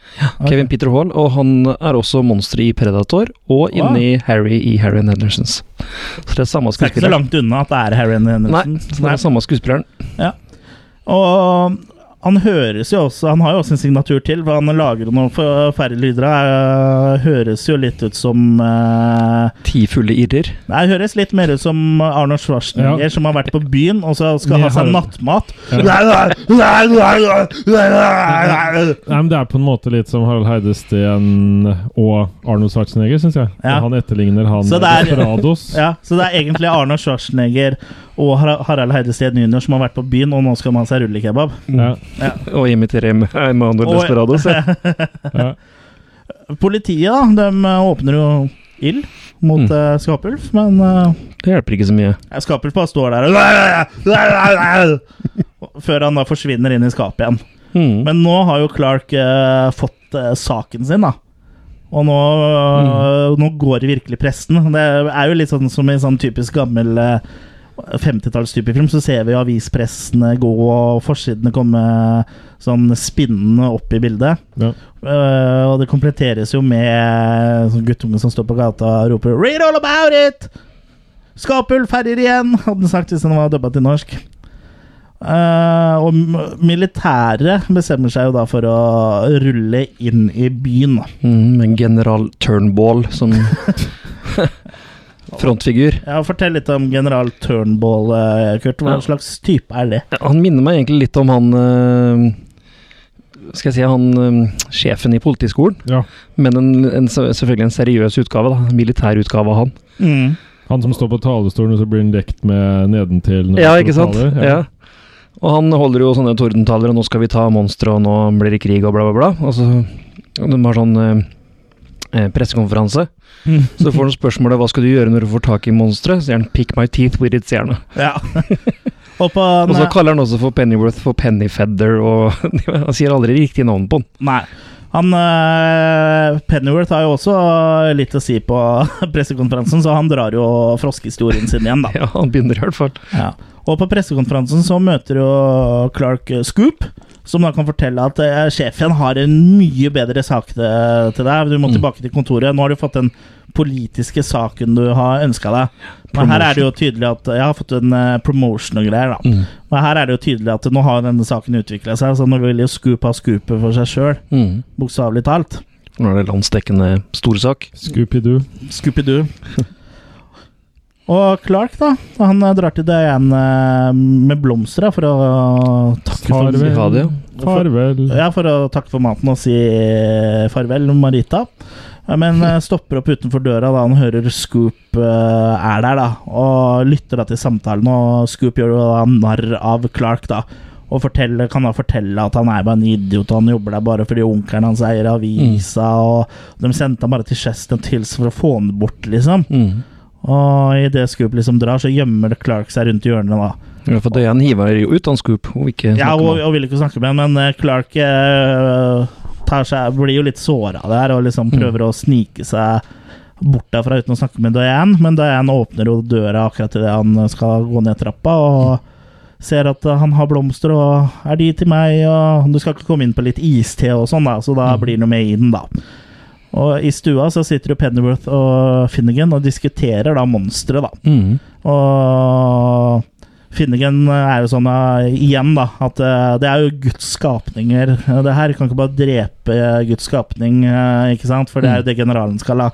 Speaker 4: Kevin Peter Hall, og han er også monster i Predator,
Speaker 1: Wow.
Speaker 4: og inni Harry i Harry and Hendersons. Så det er samme
Speaker 1: Det er ikke så
Speaker 4: skuespilleren.
Speaker 1: langt unna at det er Harry
Speaker 4: Nei,
Speaker 1: Henderson.
Speaker 4: så det er samme skuespilleren.
Speaker 1: sånn. Og han høres jo også Han har jo også en signatur til, for han lager noen for- færre lyder. Han høres jo litt ut som eh,
Speaker 4: Ti fulle irrer.
Speaker 1: Nei, høres litt mer ut som Arnold Schwarzenegger
Speaker 2: Ja.
Speaker 1: som har vært på byen og så skal ha
Speaker 2: Med
Speaker 1: seg
Speaker 2: Harald.
Speaker 1: nattmat.
Speaker 2: Nei, men Det er på en måte litt som Harald Heidesteen og Arnold Schwarzenegger, syns jeg.
Speaker 1: Ja.
Speaker 2: Han etterligner han
Speaker 1: Så det er-
Speaker 2: Desperados.
Speaker 1: Ja, så det er egentlig Arnold Schwarzenegger og Har- Harald Heidesteen jr. som har vært på byen, og nå skal man ha seg rullekebab.
Speaker 2: Ja,
Speaker 4: Og imiterer M- Emanuel
Speaker 1: Og-
Speaker 4: Desperados. ja.
Speaker 2: ja.
Speaker 1: eh, Politiet da, de eh, åpner jo ild mot
Speaker 4: Mm.
Speaker 1: eh, Skapulf, men eh,
Speaker 4: Det hjelper ikke så mye.
Speaker 1: Jeg Skapulf bare står der og Før han da forsvinner inn i skapet igjen.
Speaker 4: Mm.
Speaker 1: Men nå har jo Clark eh, fått eh, saken sin, da. Og nå, eh, nå går det virkelig pressen. Det er jo litt sånn som i sånn typisk gammel eh, 50-tallstype film, så ser vi jo avispressene gå og forsidene komme sånn spinnende opp i bildet.
Speaker 2: Ja.
Speaker 1: Eh, og det kompletteres jo med sånn guttunge som står på gata og roper 'Read all about it!' Skapulf herjer igjen, hadde den sagt hvis den var dubba til norsk. Eh, og m- militæret bestemmer seg jo da for å rulle inn i byen.
Speaker 4: Mm, en general Turnball som frontfigur.
Speaker 1: Ja, Fortell litt om general Turnbull, eh, Kurt. Hva
Speaker 4: Ja.
Speaker 1: slags type er det?
Speaker 4: Ja, Han minner meg egentlig litt om han eh, Skal jeg si han eh, sjefen i politiskolen,
Speaker 2: ja.
Speaker 4: men en, en, selvfølgelig en seriøs utgave. da, En militær utgave av han.
Speaker 1: Mm.
Speaker 2: Han som står på talerstolen, og så blir han lekt med nedentil. når
Speaker 4: Ja,
Speaker 2: han
Speaker 4: ikke
Speaker 2: står og
Speaker 4: sant?
Speaker 2: taler.
Speaker 4: Ja. Og han holder jo sånne tordentaler, og nå skal vi ta monstre, og nå blir det krig, og bla, bla, bla. Og så og de har sånn eh, pressekonferanse. Så får han spørsmålet hva skal du gjøre når du får tak i monsteret. Så sier han 'pick my teeth with it', sier han.
Speaker 1: Ja. og på
Speaker 4: Og så kaller han også for Pennyworth for Pennyfeather, og han sier aldri riktig navn på han.
Speaker 1: Nei. Han eh, Pennyworth har jo også litt å si på pressekonferansen, så han drar jo froskehistorien sin igjen, da.
Speaker 4: Ja, han begynner i hvert fall.
Speaker 1: Ja. Og på pressekonferansen så møter jo Clark eh, Scoop, som da kan fortelle at eh, sjefen har en mye bedre sak til, til deg. Du må tilbake til kontoret. Nå har du fått den politiske saken du har ønska deg. Men her er det jo tydelig at Jeg har fått en eh, promotion og greier,
Speaker 4: Mm.
Speaker 1: da. Men her er det jo tydelig at nå har denne saken utvikla seg, så nå vil jo Scoop ha scoopet for seg sjøl,
Speaker 4: Mm.
Speaker 1: bokstavelig talt.
Speaker 4: Nå er det landsdekkende storsak.
Speaker 2: Scooby-Doo.
Speaker 1: Scooby-Doo. Og Clark, da. Han eh, drar til Diane eh, med blomster da, for å takke for,
Speaker 2: Farvel.
Speaker 4: Ha det, ja.
Speaker 2: Farvel.
Speaker 1: ja, for å takke for maten og si eh, farvel, Marita. Ja, Men eh, stopper opp utenfor døra da han hører Scoop eh, er der, da. Og lytter da til samtalen, og Scoop gjør jo da narr av Clark, da. Og fortelle, kan da fortelle at han er bare en idiot, og han jobber der bare fordi onkelen hans eier avisa, og de sendte han bare til Cheston Tills for å få han bort, liksom.
Speaker 4: Mm.
Speaker 1: Og idet Scoop liksom drar, så gjemmer Clark seg rundt hjørnet, da.
Speaker 4: Ja, for Diane hiver jo ut han Scoop. Og ikke
Speaker 1: Ja,
Speaker 4: snakker med
Speaker 1: og,
Speaker 4: han.
Speaker 1: og vil ikke snakke med han, men eh, Clark eh, tar seg, blir jo litt såra der og liksom
Speaker 4: Mm.
Speaker 1: prøver å snike seg bort derfra uten å snakke med Diane. Men Diane åpner jo døra akkurat idet han skal gå ned trappa, og ser at eh, han har blomster og er de til meg, og du skal ikke komme inn på litt iste og sånn, da, så da
Speaker 4: Mm.
Speaker 1: blir han jo med i den, da. Og I stua så sitter jo Pennyworth og Finnegan og diskuterer da monsteret, da.
Speaker 4: Mm.
Speaker 1: Og Finnegan er jo sånn eh, igjen, da, at eh, det er jo Guds skapninger. eh, Det her kan ikke bare drepe eh, Guds skapning, eh, ikke sant? For det er jo det generalen skal ha.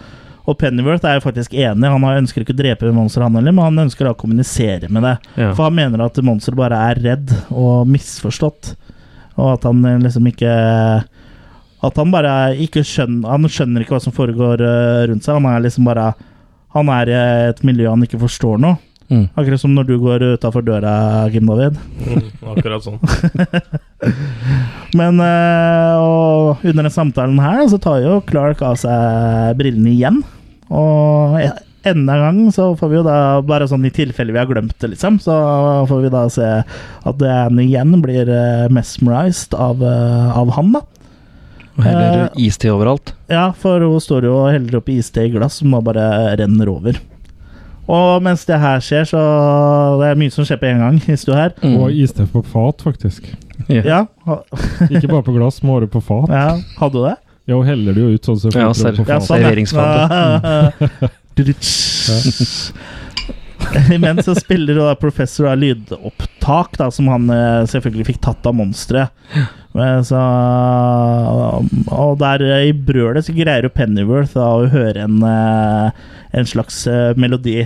Speaker 1: Og Pennyworth er jo faktisk enig. Han har- ønsker ikke å drepe monsteret, han heller, men han ønsker da å kommunisere med det.
Speaker 4: Ja.
Speaker 1: For han mener at monsteret bare er redd og misforstått, og at han eh, liksom ikke At han bare ikke skjønner Han skjønner ikke hva som foregår eh, rundt seg. Han er liksom bare Han er i et miljø han ikke forstår noe.
Speaker 4: Mm.
Speaker 1: Akkurat som når du går utafor døra, Kim David.
Speaker 3: Mm, akkurat sånn.
Speaker 1: Men eh, og under den samtalen her så tar jo Clark av seg brillene igjen. Og enda en gang så får vi jo da, bare sånn i tilfelle vi har glemt det, liksom, så får vi da se at Diane igjen blir eh, mesmerized av, eh, av han, da.
Speaker 4: Og heller
Speaker 1: Eh,
Speaker 4: iste overalt.
Speaker 1: Ja, for hun står jo og heller oppi iste i glass som da bare renner over. Og mens det her skjer, så Det er mye som skjer på en gang, hvis du er her.
Speaker 4: Mm.
Speaker 2: Og iste på fat, faktisk.
Speaker 4: Ja.
Speaker 1: Ja, ha-
Speaker 2: Ikke bare på glass, men også på fat.
Speaker 1: ja, hadde du det?
Speaker 2: Ja, og heller det jo ut sånn som
Speaker 4: Ja,
Speaker 2: fat
Speaker 4: serr.
Speaker 2: på
Speaker 1: Ja,
Speaker 2: fat.
Speaker 1: sånn, ja.
Speaker 4: Serveringsfat,
Speaker 1: Duduts. Imens så spiller jo da professor av lydopptak, da, som han eh, selvfølgelig fikk tatt av monsteret. Men Så, og der eh, i brølet så greier jo Pennyworth da, å høre en, eh, en slags eh, melodi.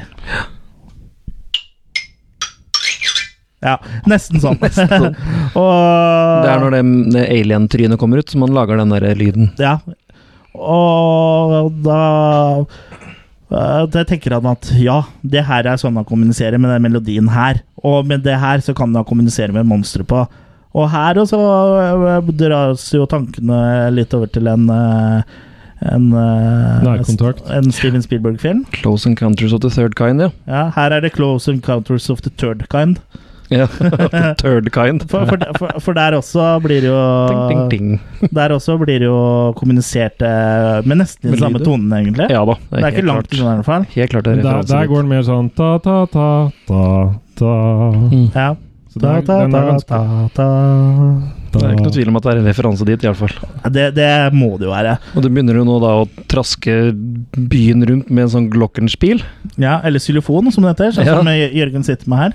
Speaker 1: Ja, nesten sånn. og,
Speaker 4: Det er når det, det alien-trynet kommer ut, som man lager den der lyden.
Speaker 1: ja. Og da eh, da tenker han at ja, det her er sånn han kommuniserer med den melodien her. Og med det her så kan han kommunisere med monstre på. Og her også eh, dras jo tankene litt over til en eh, en, eh,
Speaker 2: Nærkontakt.
Speaker 1: en Steven Spielberg-film.
Speaker 4: Close Encounters of the Third Kind, ja.
Speaker 1: Ja, her er det 'Close Encounters of the Third Kind'.
Speaker 4: ja. Third Kind.
Speaker 1: For, for, for, for der også blir det jo
Speaker 4: Ding, ding, ding.
Speaker 1: Der også blir det jo kommunisert eh, med nesten
Speaker 2: Med
Speaker 1: de samme
Speaker 2: lyder.
Speaker 1: tonene, egentlig.
Speaker 4: Ja da.
Speaker 1: Det er ikke langt unna, i hvert fall.
Speaker 4: Helt klart det er
Speaker 2: Men Der, der går den mer sånn ta, ta, ta, ta, ta.
Speaker 1: Ja.
Speaker 2: Så
Speaker 1: Da,
Speaker 2: der,
Speaker 1: da,
Speaker 2: den
Speaker 1: da,
Speaker 2: er ganske
Speaker 1: da, da.
Speaker 4: Det er ikke noe tvil om at det er en referanse dit, iallfall.
Speaker 1: Det, det må det jo være.
Speaker 4: Og det begynner jo nå da å traske byen rundt med en sånn glockenspiel.
Speaker 1: Ja, Eller xylofon, som det heter, sånn
Speaker 4: Ja.
Speaker 1: som Jø- Jørgen sitter med her.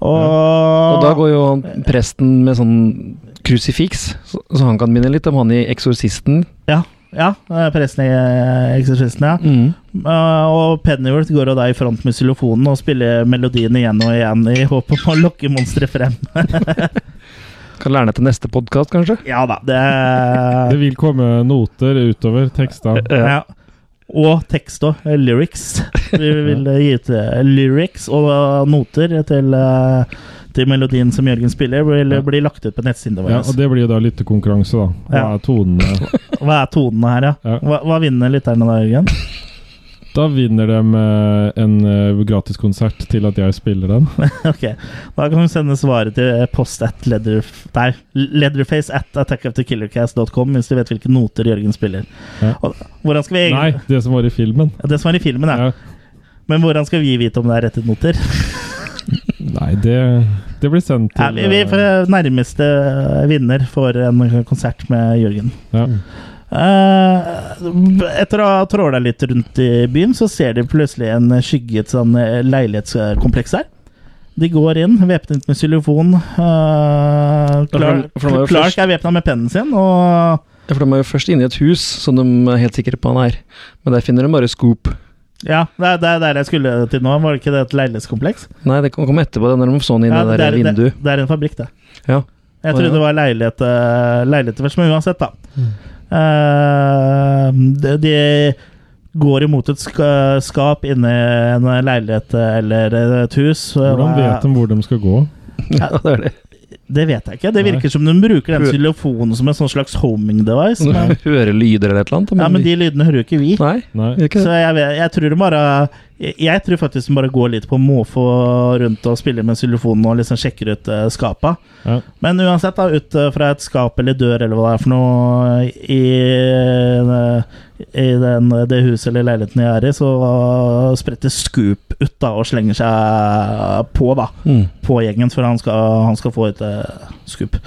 Speaker 1: Og,
Speaker 4: Og
Speaker 1: Ah.
Speaker 4: da går jo han presten med sånn krusifiks, så, så han kan minne litt om han i Eksorsisten.
Speaker 1: Ja, ja eh, presten i eh, Eksorsisten, ja. Eh, og Pennyworth går jo da i front med xylofonen og spiller melodien igjen og igjen i håp om å lokke monsteret frem.
Speaker 4: Kan lære ned til neste podkast, kanskje.
Speaker 1: Ja da,
Speaker 2: Det
Speaker 1: det
Speaker 2: vil komme noter utover tekstene.
Speaker 4: Eh,
Speaker 1: ja. Og tekst og lyrics. Vi vil eh, gi ut eh, lyrics og eh, noter til, eh, til melodien som Jørgen spiller, vil
Speaker 2: Ja.
Speaker 1: bli lagt ut på altså. nettsidene våre.
Speaker 2: Ja, og det blir jo da lyttekonkurranse, da. Hva
Speaker 1: Ja.
Speaker 2: er tonene?
Speaker 1: Hva er tonene her, ja?
Speaker 2: Ja.
Speaker 1: Hva, hva vinner lytterne da, Jørgen?
Speaker 2: Da vinner de eh, en eh, gratiskonsert til at jeg spiller den.
Speaker 1: ok, Da kan du sende svaret til eh, post at leather, nei, leatherface at attackofthekillercast.com hvis du vet hvilke noter Jørgen spiller.
Speaker 2: Ja.
Speaker 1: Og, hvordan skal vi
Speaker 2: Nei,
Speaker 1: egentlig,
Speaker 2: det som var i filmen.
Speaker 1: Det som er i filmen, ja.
Speaker 2: Ja.
Speaker 1: Men hvordan skal vi vite om det er rettet noter?
Speaker 2: Nei, det, det blir sendt
Speaker 1: Ja,
Speaker 2: til
Speaker 1: vi, vi
Speaker 2: eh,
Speaker 1: får nærmeste vinner for en konsert med Jørgen.
Speaker 2: ja.
Speaker 1: Eh, etter å ha tråla litt rundt i byen, så ser de plutselig en skygge i et sånn eh, leilighetskompleks her. De går inn, væpnet med xylofon. Eh, Clark,
Speaker 4: for det var jo
Speaker 1: Clark
Speaker 4: først-
Speaker 1: er væpna med pennen sin, og
Speaker 4: Ja, For de er jo først inne i et hus som de er helt sikre på han er. Men der finner de bare Scoop.
Speaker 1: Ja, det er det er der jeg skulle til nå. Var det ikke det et leilighetskompleks?
Speaker 4: Nei, det kan komme etterpå, det er når de så han inn i
Speaker 1: Ja,
Speaker 4: det der
Speaker 1: det,
Speaker 4: vinduet.
Speaker 1: det er en fabrikk, det.
Speaker 4: Ja.
Speaker 1: Jeg
Speaker 4: Å,
Speaker 1: trodde
Speaker 4: ja.
Speaker 1: det var leilighet, eh, leiligheter først, men uansett, da. Eh, de, de går imot et ska- skap inni en leilighet eh, eller et hus.
Speaker 2: Hvordan vet de hvor de skal gå?
Speaker 4: ja, det er det.
Speaker 1: Det vet jeg ikke. Det virker som de bruker den xylofonen som en sånn slags homing device. Men,
Speaker 4: Høre lyder eller et eller annet.
Speaker 1: ja, men de lydene hører jo ikke vi.
Speaker 4: Nei,
Speaker 2: Nei.
Speaker 4: gjør ikke
Speaker 1: Så
Speaker 4: det.
Speaker 1: jeg, vet, jeg tror de bare jeg, jeg tror faktisk de bare går litt på måfå rundt og spiller med xylofonen og liksom sjekker ut eh, skapa.
Speaker 2: Ja.
Speaker 1: Men uansett, da, ut eh, fra et skap eller dør eller hva det er for noe i, eh, i den, det huset eller leiligheten jeg er i, så spretter Scoop ut da og slenger seg eh, på, da.
Speaker 4: Mm.
Speaker 1: På gjengen før han skal, han skal få et eh, Scoop.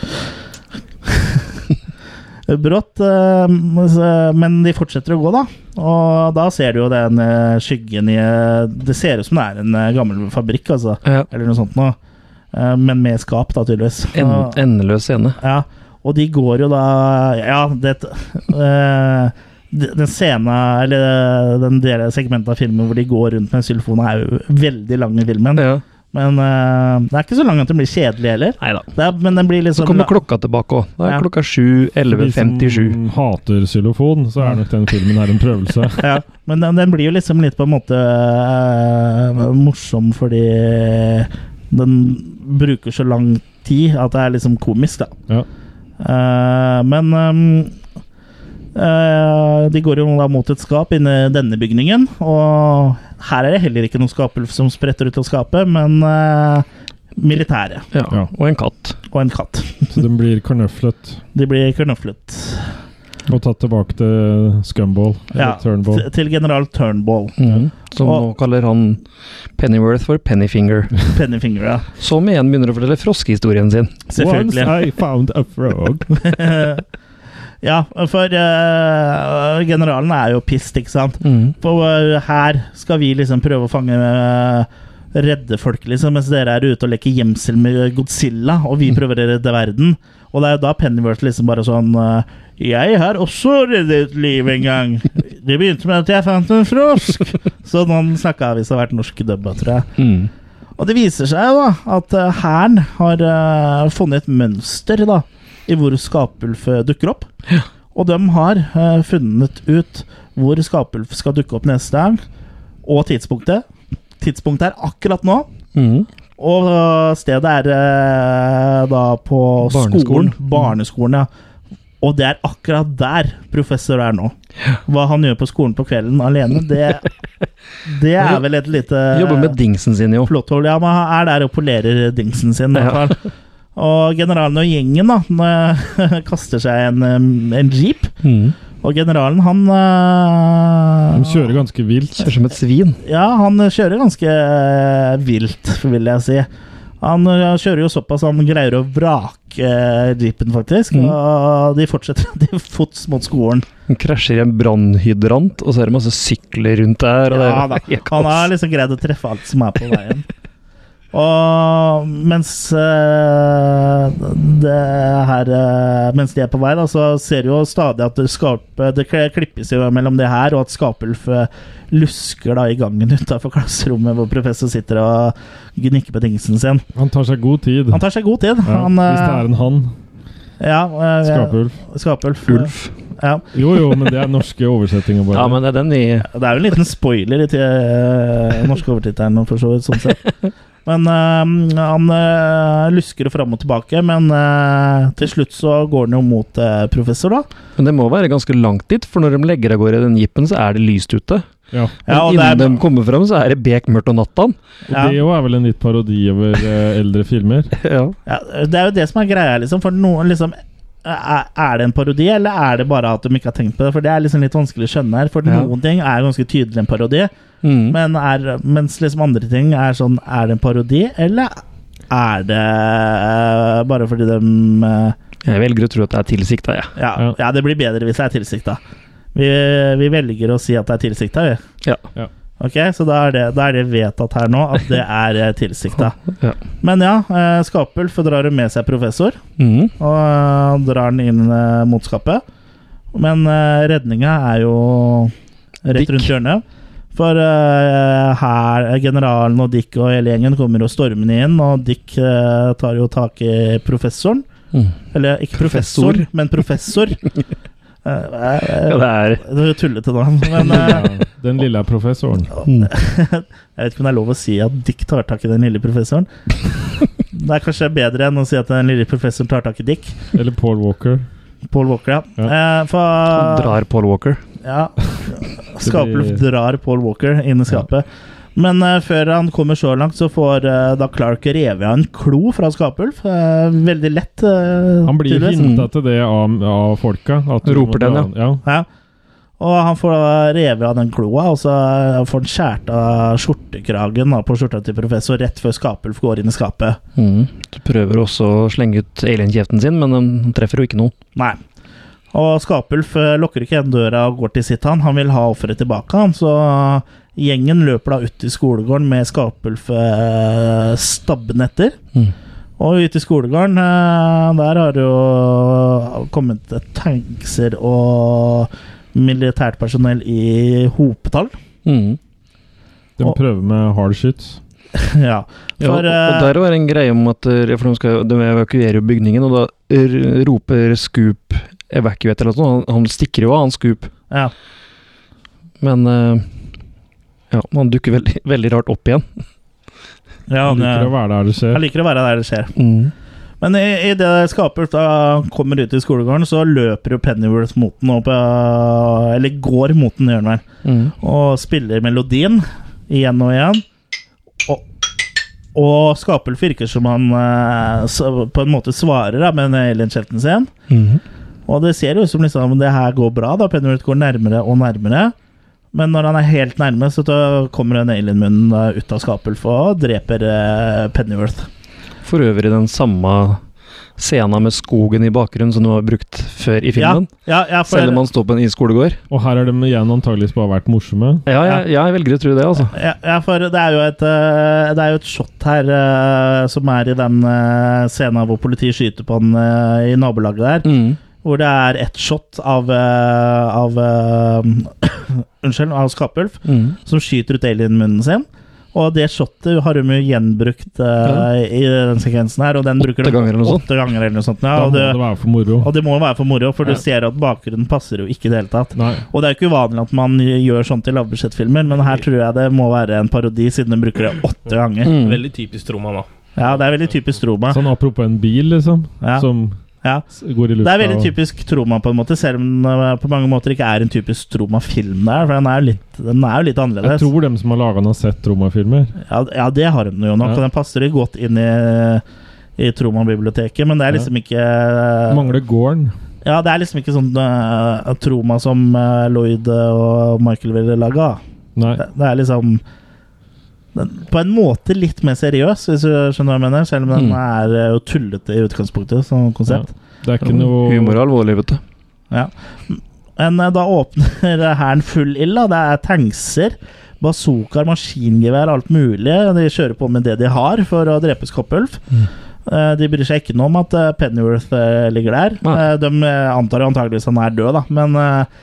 Speaker 1: Brått, eh, så- men de fortsetter å gå, da. Og da ser du jo den eh, skyggen i eh, Det ser ut som det er en eh, gammel fabrikk, altså.
Speaker 4: Ja.
Speaker 1: Eller noe sånt noe. Eh, Men med skap, da, tydeligvis.
Speaker 4: En,
Speaker 1: Og-
Speaker 4: endeløs scene.
Speaker 1: ja, og de går jo da Ja, det eh, de- Den scenen, eller eh, den delen segmentet av filmen hvor de går rundt med en xylofon, er jo veldig lang i filmen.
Speaker 4: Ja.
Speaker 1: Men eh, det er ikke så lang at den blir kjedelig heller.
Speaker 4: Nei da.
Speaker 1: Det er, men den blir litt
Speaker 4: Så
Speaker 1: sånn
Speaker 4: kommer klokka tilbake òg. Det er
Speaker 1: Ja.
Speaker 4: klokka 7.11.57.
Speaker 2: De som hater xylofon, så er nok den filmen her en prøvelse.
Speaker 1: ja, men den, den blir jo liksom litt på en måte eh, morsom fordi den bruker så lang tid at det er liksom komisk, da.
Speaker 2: Ja.
Speaker 1: Eh, men ehm, eh, de går jo da mot et skap inni denne bygningen, og her er det heller ikke noen skapelv som spretter ut av skapet, men eh, militære
Speaker 4: Ja.
Speaker 2: Ja.
Speaker 4: Og en katt.
Speaker 1: og en katt.
Speaker 2: Så den blir karnøflet
Speaker 1: De blir knøflet
Speaker 2: og tatt tilbake til Scumball. Eller
Speaker 1: Ja,
Speaker 2: Turnbull.
Speaker 1: t- til general Turnbull,
Speaker 4: Mhm. Som
Speaker 1: Og-
Speaker 4: nå kaller han Pennyworth for Pennyfinger.
Speaker 1: Pennyfinger. ja.
Speaker 4: Som igjen begynner å fortelle froskehistorien sin.
Speaker 1: Selvfølgelig.
Speaker 2: Once I found a frog.
Speaker 1: Eh, ja, for eh, generalen er jo pissed, ikke sant?
Speaker 4: Mhm.
Speaker 1: På, eh, her skal vi liksom prøve å fange eh, Redde folk, liksom, mens dere er ute og leker gjemsel med Godzilla, og vi prøver å redde verden. Og det er jo da Pennyworth liksom bare sånn eh, Jeg har også reddet liv en gang. Det begynte med at jeg fant en frosk. Så noen snakka hvis det har vært norsk dubba, tror jeg.
Speaker 4: Mhm.
Speaker 1: Og det viser seg jo da at eh, hæren har eh, funnet et mønster da, i hvor skapulf eh, dukker opp. Og de har eh, funnet ut hvor skapulf skal dukke opp neste gang, og tidspunktet. Tidspunktet er akkurat nå,
Speaker 4: Mhm.
Speaker 1: og eh, stedet er eh, da på
Speaker 4: Barneskolen.
Speaker 1: skolen. Barneskolen, ja. Og det er akkurat der professor er nå. Hva han gjør på skolen på kvelden alene, det, det er vel et lite
Speaker 4: Jobber med dingsen sin, jo.
Speaker 1: Flåtthold, ja, men han er der og polerer dingsen sin. i
Speaker 4: Ja.
Speaker 1: hvert fall. Og generalen og gjengen da, den, eh, kaster seg en, eh, en jeep.
Speaker 4: Mhm.
Speaker 1: Og generalen, han
Speaker 2: De
Speaker 1: eh,
Speaker 2: kjører ganske vilt.
Speaker 4: Kjører som et svin.
Speaker 1: Ja, han kjører ganske eh, vilt, vil jeg si. Han eh, kjører jo såpass han greier å vrake eh, jeepen, faktisk.
Speaker 4: Mhm.
Speaker 1: Og de fortsetter til fots mot skolen.
Speaker 4: Han krasjer i en brannhydrant, og så er det masse sykler rundt der. Og
Speaker 1: Ja, da.
Speaker 4: det er helt
Speaker 1: Han har
Speaker 4: kaos.
Speaker 1: liksom greid å treffe alt som er på veien. Og mens eh, det her eh, Mens de er på vei, da, så ser du jo stadig at det, skape, det kl- klippes jo mellom det her, og at Skapulf eh, lusker da i gangen utafor klasserommet hvor professor sitter og gnikker på dingsen sin.
Speaker 2: Han tar seg god tid.
Speaker 1: Han tar seg god tid.
Speaker 2: ja,
Speaker 1: Han,
Speaker 2: hvis det er en han.
Speaker 1: eh, ja, eh,
Speaker 2: Skapulf.
Speaker 1: Skapulf. eh,
Speaker 4: Ulf.
Speaker 1: Ja.
Speaker 2: Jo, jo, men det er norske oversettinger, bare.
Speaker 4: Ja, men det er den vi
Speaker 1: Det er jo en liten spoiler i til eh, norske overtittelen, for så vidt, sånn sett. Men eh, han eh, lusker jo fram og tilbake, men eh, til slutt så går han jo mot eh, professor, da.
Speaker 4: Men det må være ganske langt dit, for når de legger av gårde den jeepen, så er det lyst ute.
Speaker 2: ja.
Speaker 1: Ja, og
Speaker 4: Men
Speaker 1: det
Speaker 4: innen
Speaker 1: er,
Speaker 4: de kommer fram, så er det bek mørkt og nattan.
Speaker 2: Og det jo er vel en litt parodi over eh, eldre filmer.
Speaker 4: Ja.
Speaker 1: ja, det er jo det som er greia, liksom. For noen liksom er er det en parodi, eller er det bare at de ikke har tenkt på det? For det er liksom litt vanskelig å skjønne her. For
Speaker 4: Ja.
Speaker 1: noen ting er ganske tydelig en parodi,
Speaker 4: Mm.
Speaker 1: men er, mens liksom andre ting er sånn Er det en parodi, eller er det eh, bare fordi de eh,
Speaker 4: Jeg velger å tro at det er tilsikta, jeg.
Speaker 1: Ja, ja.
Speaker 2: Ja.
Speaker 1: det blir bedre hvis det er tilsikta. Vi, vi velger å si at det er tilsikta, vi.
Speaker 4: Ja.
Speaker 2: Ja.
Speaker 1: Ok, Så da er, det, da er det vedtatt her nå at det er eh, tilsikta.
Speaker 4: Ja.
Speaker 1: Men ja, eh, Skapulf drar jo med seg professor,
Speaker 4: Mm.
Speaker 1: og eh, drar den inn eh, mot skapet. Men eh, redninga er jo rett
Speaker 4: Dick.
Speaker 1: rundt hjørnet. For eh, her, generalen og Dick og hele gjengen kommer jo stormende inn, og Dick eh, tar jo tak i professoren.
Speaker 4: Mm.
Speaker 1: Eller ikke professor,
Speaker 4: Professor.
Speaker 1: men professor. Eh,
Speaker 4: Ja, det er
Speaker 1: eh, Det er tullete navn, men eh,
Speaker 2: Den lille professoren.
Speaker 4: Mm.
Speaker 1: Jeg vet ikke om det er lov å si at Dick tar tak i den lille professoren. Det er kanskje bedre enn å si at den lille professoren tar tak i Dick.
Speaker 2: Eller Paul Walker.
Speaker 1: Paul Walker, ja. Eh, for,
Speaker 4: Drar Paul Walker.
Speaker 1: ja. Skapeluf drar Paul Walker inn i skapet. Men eh, før han kommer så langt, så får eh, da Clark revet av en klo fra Skapulf. Eh, veldig lett. eh,
Speaker 2: Han blir
Speaker 1: tydeligvis.
Speaker 2: hinta til det sånn. av, av folka. At du
Speaker 4: Roper
Speaker 2: må dra-
Speaker 4: den,
Speaker 2: ja.
Speaker 1: Ja. Og han får da revet av den kloa, og så eh, får han skjært av skjortekragen da, på skjorta til professor rett før Skapulf går inn i skapet.
Speaker 4: Mm. Du prøver også å slenge ut alien-kjeften sin, men den treffer jo ikke noe.
Speaker 1: Nei. Og Skapulf eh, lukker ikke igjen døra og går til sitt, han. Han vil ha offeret tilbake, han. Så eh, gjengen løper da ut i skolegården med Skapulf eh, stabben etter.
Speaker 4: Mm.
Speaker 1: Og ute i skolegården, eh, der har det jo eh, kommet tankser og militært personell i hopetall.
Speaker 4: Mm.
Speaker 2: De
Speaker 1: Og-
Speaker 2: prøver med hard shit.
Speaker 1: ja.
Speaker 4: Ja,
Speaker 1: For
Speaker 4: og, og
Speaker 1: eh,
Speaker 4: der var det en greie om at eh, for de, skal, de evakuerer jo bygningen, og da r roper Scoop 'evacuate' eller noe sånt. Han, han stikker jo av, han Scoop,
Speaker 1: ja.
Speaker 4: men eh, ja, han dukker veldig, veldig rart opp igjen.
Speaker 1: ja
Speaker 2: Han
Speaker 1: han,
Speaker 2: liker å
Speaker 1: eh,
Speaker 2: være der det skjer.
Speaker 1: han liker å være der det skjer.
Speaker 4: Mm.
Speaker 1: Men i, i det Skapulf da kommer ut i skolegården, så løper jo Pennyworth mot den opp, eh, Eller går mot den, gjør han vel.
Speaker 4: Mm.
Speaker 1: Og spiller melodien igjen og igjen. Og, og Skapulf virker som han eh, så- på en måte svarer da, med alien-kjelten sin.
Speaker 4: Mhm.
Speaker 1: Og det ser jo ut som liksom, det her går bra, da. Pennyworth går nærmere og nærmere. Men når han er helt nærme, så da kommer en alien-munn da ut av Skapulf og dreper eh, Pennyworth.
Speaker 4: For øvrig den samme scena med skogen i bakgrunnen som de har brukt før i filmen.
Speaker 1: Ja, ja, ja, for-
Speaker 4: Selv om han står på en isskolegård.
Speaker 2: Og her har de igjen antageligvis bare vært morsomme.
Speaker 4: Ja, jeg, jeg velger å tro det, altså.
Speaker 1: Ja, ja, for det er jo et, eh, det er jo et shot her eh, som er i den eh, scenen hvor politiet skyter på han eh, i nabolaget der.
Speaker 4: Mm.
Speaker 1: Hvor det er ett shot av, eh, av eh, Unnskyld, av Skapulf,
Speaker 4: Mm.
Speaker 1: som skyter ut alien-munnen sin. Og det shotet har de jo gjenbrukt eh, i den sekvensen her. Og den
Speaker 4: Åtte
Speaker 1: bruker de
Speaker 4: ganger eller noe sånt.
Speaker 1: åtte ganger eller noe sånt. Ja,
Speaker 2: Da må
Speaker 1: og,
Speaker 2: det
Speaker 1: det,
Speaker 2: være for moro.
Speaker 1: og det må jo være for moro, for
Speaker 2: Ja.
Speaker 1: du ser at bakgrunnen passer jo ikke i det hele tatt.
Speaker 2: Nei.
Speaker 1: Og det er jo ikke uvanlig at man gjør sånt i lavbudsjettfilmer, men
Speaker 2: Mm.
Speaker 1: her tror jeg det må være en parodi, siden de bruker det åtte ganger.
Speaker 4: Mm.
Speaker 3: Veldig typisk Troma nå.
Speaker 1: Ja, det er veldig typisk Troma.
Speaker 2: Sånn apropos en bil, liksom,
Speaker 1: Ja.
Speaker 2: som
Speaker 1: Ja.
Speaker 2: s- går i lufta.
Speaker 1: Det er veldig
Speaker 2: og-
Speaker 1: typisk Troma, på en måte, selv om den eh, på mange måter ikke er en typisk Troma-film der, for den er jo litt, den er jo litt
Speaker 2: Jeg
Speaker 1: annerledes.
Speaker 2: tror dem som har laga den, har sett Troma-filmer.
Speaker 1: Ja, ja, det har den jo nok,
Speaker 2: Ja.
Speaker 1: og den passer jo godt inn i i Troma-biblioteket, men det er liksom ikke
Speaker 2: Mangler gården.
Speaker 1: Ja, det er liksom ikke sånn eh, Troma som eh, Lloyd og Michael ville laga.
Speaker 2: Nei.
Speaker 1: Det, det er liksom den, På en måte litt mer seriøs, hvis du skjønner hva jeg mener. Selv om den
Speaker 4: Mm.
Speaker 1: er eh, jo tullete i utgangspunktet, som konsept.
Speaker 2: Det er ikke noe
Speaker 4: Mm. Humor og alvorlig, vet du.
Speaker 1: Men eh, da åpner hæren full ild. da. Det er tankser, bazookaer, maskingevær, alt mulig. De kjører på med det de har for å drepe Skoppulf. Eh, De bryr seg ikke noe om at eh, Pennyworth eh, ligger der.
Speaker 4: Nei.
Speaker 1: Eh, De eh, antar jo antageligvis han er død, da, men eh,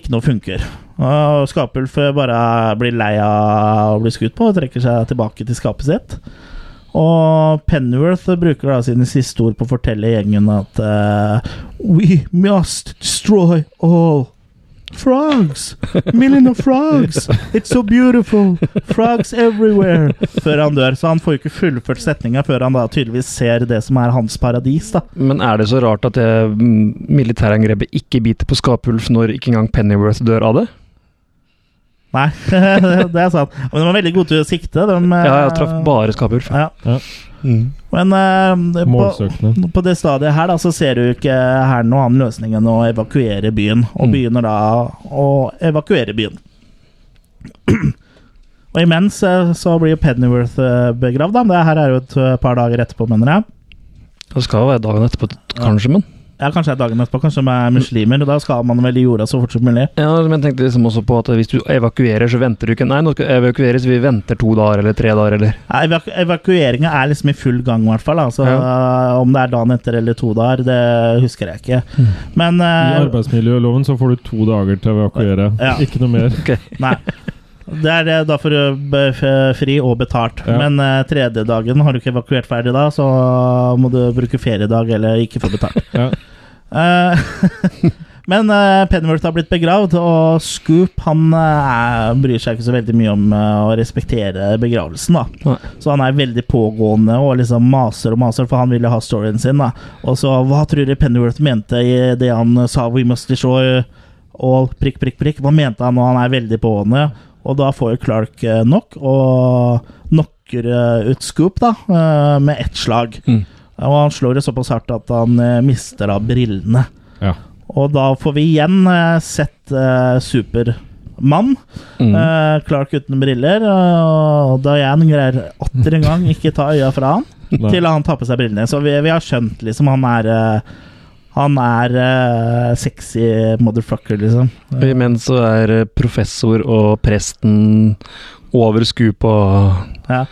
Speaker 1: ikke noe funker. Og Skapulf eh, bare blir lei av å bli skutt på og trekker seg tilbake til skapet sitt. Og Pennyworth bruker da sine siste ord på å fortelle gjengen at eh, We must destroy all frogs! Million of frogs! It's so beautiful! Frogs everywhere! Før han dør. Så han får jo ikke fullført setninga før han da tydeligvis ser det som er hans paradis, da.
Speaker 4: Men er det så rart at det mm, militærangrepet ikke biter på Skapulf når ikke engang Pennyworth dør av det?
Speaker 1: Nei, det er sant. Men de var veldig gode til å sikte. De, eh,
Speaker 4: Ja, jeg traff bare Skapulf.
Speaker 1: Ja.
Speaker 2: Ja.
Speaker 1: Men eh, på,
Speaker 2: målsøkende.
Speaker 1: på det stadiet her da, så ser du ikke her noen annen løsning enn å evakuere byen. Og
Speaker 4: Mm.
Speaker 1: begynner da å evakuere byen. og imens eh, så blir Pennyworth eh, begravd. Da. Det her er jo et eh, par dager etterpå, mener jeg.
Speaker 4: Det skal være dagen etterpå, t- kanskje, men
Speaker 1: Ja, Kanskje det er dagen etterpå, kanskje de er muslimer. Og da skal man vel i jorda så fort som mulig.
Speaker 4: Ja, men jeg tenkte liksom også på at hvis du evakuerer, så venter du ikke Nei, nå skal jeg evakueres, vi venter to dager eller tre dager eller
Speaker 1: Ja, evaku Evakueringa er liksom i full gang, i hvert fall. da. Så, eh, Om det er dagen etter eller to dager, det husker jeg ikke. Men
Speaker 2: I
Speaker 1: eh,
Speaker 2: arbeidsmiljøloven så får du to dager til å evakuere.
Speaker 1: Ja.
Speaker 2: Ikke noe mer.
Speaker 1: Nei. Det er det da for ø, be- f- fri og betalt.
Speaker 2: Ja.
Speaker 1: Men eh, tredje dagen har du ikke evakuert ferdig da, så må du bruke feriedag eller ikke få betalt.
Speaker 2: Ja.
Speaker 1: Eh, Men uh, Pennyworth har blitt begravd, og Scoop han eh, bryr seg ikke så veldig mye om eh, å respektere begravelsen. da
Speaker 4: Nei.
Speaker 1: Så han er veldig pågående og liksom maser og maser, for han ville ha storyen sin. da Og så hva tror du Pennyworth mente i det han eh, sa 'We must destroy all prikk, prikk, prikk'? Hva mente han? Og han er veldig pågående. Og da får jo Clark eh, nok, og knocker eh, ut Scoop da eh, med ett slag.
Speaker 4: Mm.
Speaker 1: Og han slår det såpass hardt at han eh, mister da brillene.
Speaker 2: Ja.
Speaker 1: Og da får vi igjen eh, sett eh, Supermann.
Speaker 4: Mm.
Speaker 1: Eh, Clark uten briller. eh, og Diane greier atter en gang ikke ta øya fra han
Speaker 2: Nei.
Speaker 1: til han tar på seg brillene. Så vi, vi har skjønt liksom han er eh, Han er eh, sexy motherfucker, liksom.
Speaker 4: Imens så er eh, professor og presten over skup og
Speaker 1: Ja.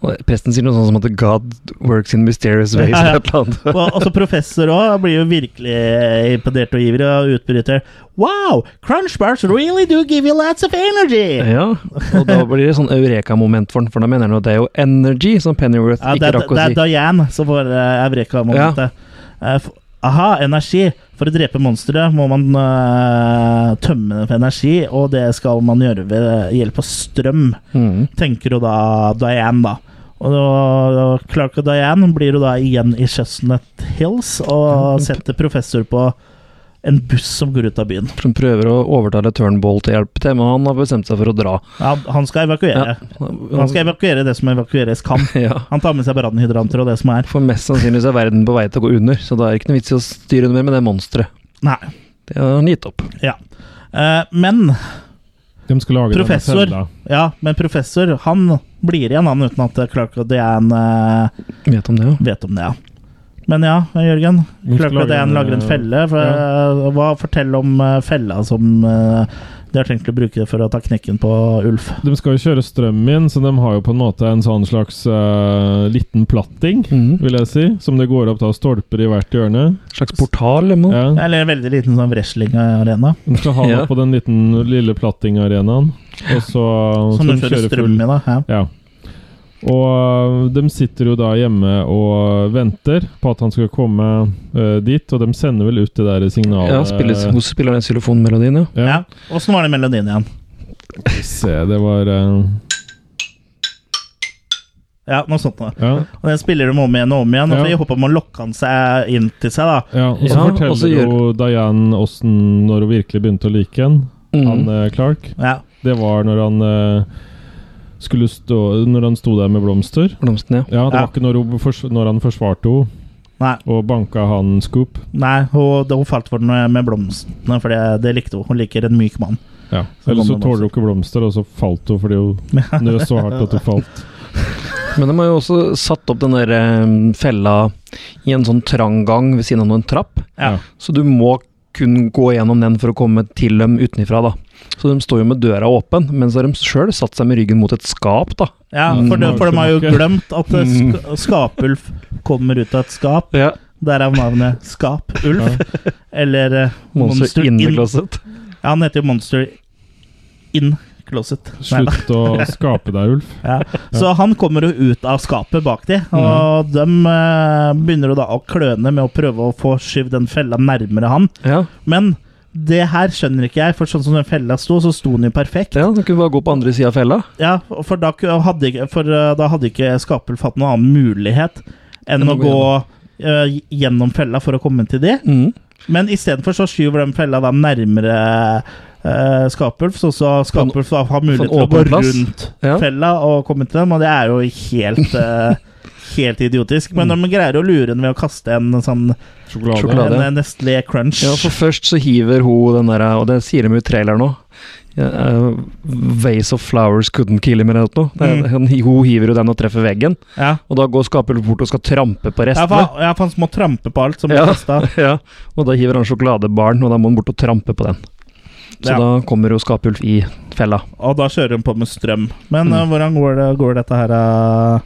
Speaker 4: og Presten sier noe sånn som at 'God works in mysterious ways'
Speaker 1: Ja, ja.
Speaker 4: eller et eller annet.
Speaker 1: Og også professor også blir jo virkelig eh, imponert og ivrig og utbryter Wow, crunch bars really do give you lots of energy!
Speaker 4: Ja, og da blir det sånn eureka-moment for den, for da mener han at det er jo energy som Pennyworth
Speaker 1: Ja, det,
Speaker 4: ikke
Speaker 1: er,
Speaker 4: rakk å
Speaker 1: det er
Speaker 4: si.
Speaker 1: Diane som får uh, Eureka-momentet. Eh, f- aha, energi. For å drepe monstre må man eh, tømme det for energi, og det skal man gjøre ved hjelp av strøm,
Speaker 4: Mm.
Speaker 1: tenker jo da Diane, da. Og da, Clark og Diane blir jo da igjen i Chestnut Hills og setter professor på en buss som går ut av byen.
Speaker 4: Som prøver å overtale Turnbull til hjelp til, men han har bestemt seg for å dra.
Speaker 1: Ja, han skal evakuere. Han skal evakuere det som evakueres kan.
Speaker 4: ja.
Speaker 1: Han tar med seg brannhydranter og det som er.
Speaker 4: For mest sannsynlig så er verden på vei til å gå under, så da er det ikke noe vits i å styre noe mer med det monsteret.
Speaker 1: Nei.
Speaker 4: Det har han gitt opp.
Speaker 1: Ja. Eh, men
Speaker 2: De skal lage denne
Speaker 1: Professor.
Speaker 2: cella.
Speaker 1: Ja, men professor han blir igjen han uten at Clark og Diane eh,
Speaker 4: Vet om det, ja.
Speaker 1: vet om det. ja. Men ja, Jørgen.
Speaker 2: Vi skal
Speaker 1: Clark og
Speaker 2: lage en,
Speaker 1: Diane lager en
Speaker 2: eh,
Speaker 1: felle. For, eh, Hva Fortell om eh, fella som eh, de har tenkt å bruke for å ta knekken på Ulf.
Speaker 2: De skal jo kjøre strøm inn, så de har jo på en måte en sånn slags eh, liten platting,
Speaker 4: Mhm.
Speaker 2: vil jeg si, som det går opp da stolper i hvert hjørne.
Speaker 4: Slags portal eller noe.
Speaker 2: Ja.
Speaker 1: Eller en veldig liten sånn wrestling-arena
Speaker 2: De skal ha det
Speaker 4: Ja.
Speaker 2: på den liten, lille plattingarenaen, og så
Speaker 1: som
Speaker 2: skal
Speaker 1: du kjører strøm i. da ja.
Speaker 2: Ja. Og de sitter jo da hjemme og venter på at han skal komme eh, dit, og de sender vel ut det der signalet
Speaker 4: Ja, spiller,
Speaker 2: eh,
Speaker 4: hun spiller den xylofonmelodien, ja.
Speaker 1: Ja.
Speaker 2: Ja.
Speaker 1: Åssen var den melodien igjen?
Speaker 2: Se, det var eh,
Speaker 1: Ja, noe sånt noe.
Speaker 2: Ja.
Speaker 1: Og den spiller de om igjen og om igjen, og så
Speaker 2: Ja.
Speaker 1: i håp om å lokke han seg eh, inn til seg, da.
Speaker 2: ja og så
Speaker 4: Ja, og så
Speaker 2: forteller
Speaker 4: gjør-
Speaker 2: jo Diane åssen når hun virkelig begynte å like ham, han
Speaker 4: Mhm.
Speaker 2: eh, Clark.
Speaker 1: Ja.
Speaker 2: Det var når han eh, skulle stå Når han sto der med blomster.
Speaker 4: Blomsten, ja.
Speaker 2: Ja, det
Speaker 1: Ja.
Speaker 2: var ikke når, hun fors når han forsvarte henne
Speaker 1: Nei.
Speaker 2: og banka han Scoop.
Speaker 1: Nei, hun, hun falt for den med blomstene, for det, det likte hun. Hun liker en myk mann.
Speaker 2: Ja.
Speaker 1: Så
Speaker 2: Eller så
Speaker 1: kom han
Speaker 2: tåler hun ikke blomster, og så falt hun fordi hun nøs så hardt at hun falt.
Speaker 4: Men de har jo også satt opp den der eh, fella i en sånn trang gang ved siden av noen trapp.
Speaker 1: Ja.
Speaker 4: Så du må kun gå gjennom den for å komme til dem utenifra, da. Så de står jo med døra åpen, men så har de sjøl satt seg med ryggen mot et skap, da.
Speaker 1: Ja,
Speaker 2: Mm.
Speaker 1: for de, for de har jo
Speaker 2: Tilbake.
Speaker 1: glemt at eh, sk Skapulf kommer ut av et skap.
Speaker 4: Ja.
Speaker 1: Derav navnet Skapulf. Eller eh,
Speaker 4: Monster,
Speaker 1: Monster
Speaker 4: in the
Speaker 1: in-
Speaker 4: closet.
Speaker 1: Ja, han heter jo Monster In Closet. Nei, da.
Speaker 2: Slutt å skape deg, Ulf.
Speaker 1: Ja. Så han kommer jo ut av skapet bak de, og de eh, begynner jo da å kløne med å prøve å få skyvd den fella nærmere han.
Speaker 4: Ja.
Speaker 1: Men det her skjønner ikke jeg, for sånn som den fella sto, så sto den jo perfekt.
Speaker 4: ja, du kunne bare gå på andre sida av fella.
Speaker 1: Ja, for da, ku- hadde, ikke- for eh, da hadde ikke Skapulf hatt noen annen mulighet enn
Speaker 4: Enn
Speaker 1: å
Speaker 4: å gå
Speaker 1: gå eh, gjennom fella for å komme til de.
Speaker 4: Mm.
Speaker 1: Men istedenfor så skyver de fella da nærmere eh, Skapulf, så, så Skapulf da har mulighet
Speaker 4: sånn
Speaker 1: til å gå
Speaker 4: åpen plass.
Speaker 1: rundt
Speaker 4: Ja.
Speaker 1: fella og komme til dem, og det er jo helt eh, Helt idiotisk, men de greier å lure den ved å kaste en sånn
Speaker 2: Sjokolade.
Speaker 4: Sjokolade.
Speaker 1: en, eh, Nestlé Crunch.
Speaker 4: Ja, for først så hiver hun den der, og det sier de jo i traileren nå. Ja, eh, vase of flowers couldn't kill him eller noe. Det,
Speaker 1: Mm.
Speaker 4: er- hun, hun hiver jo den og treffer veggen,
Speaker 1: Ja.
Speaker 4: og da går Skapel bort og skal trampe på
Speaker 1: Ja,
Speaker 4: restene.
Speaker 1: for, ja, for han må trampe på alt som blir
Speaker 4: Ja.
Speaker 1: kasta.
Speaker 4: Ja, og da hiver han sjokoladebaren, og da må han bort og trampe på den. Så
Speaker 1: Ja.
Speaker 4: da kommer jo Skapulf i fella.
Speaker 1: Og da kjører hun på med strøm. Men
Speaker 4: Mm.
Speaker 1: eh, hvordan går, det, går dette her, eh,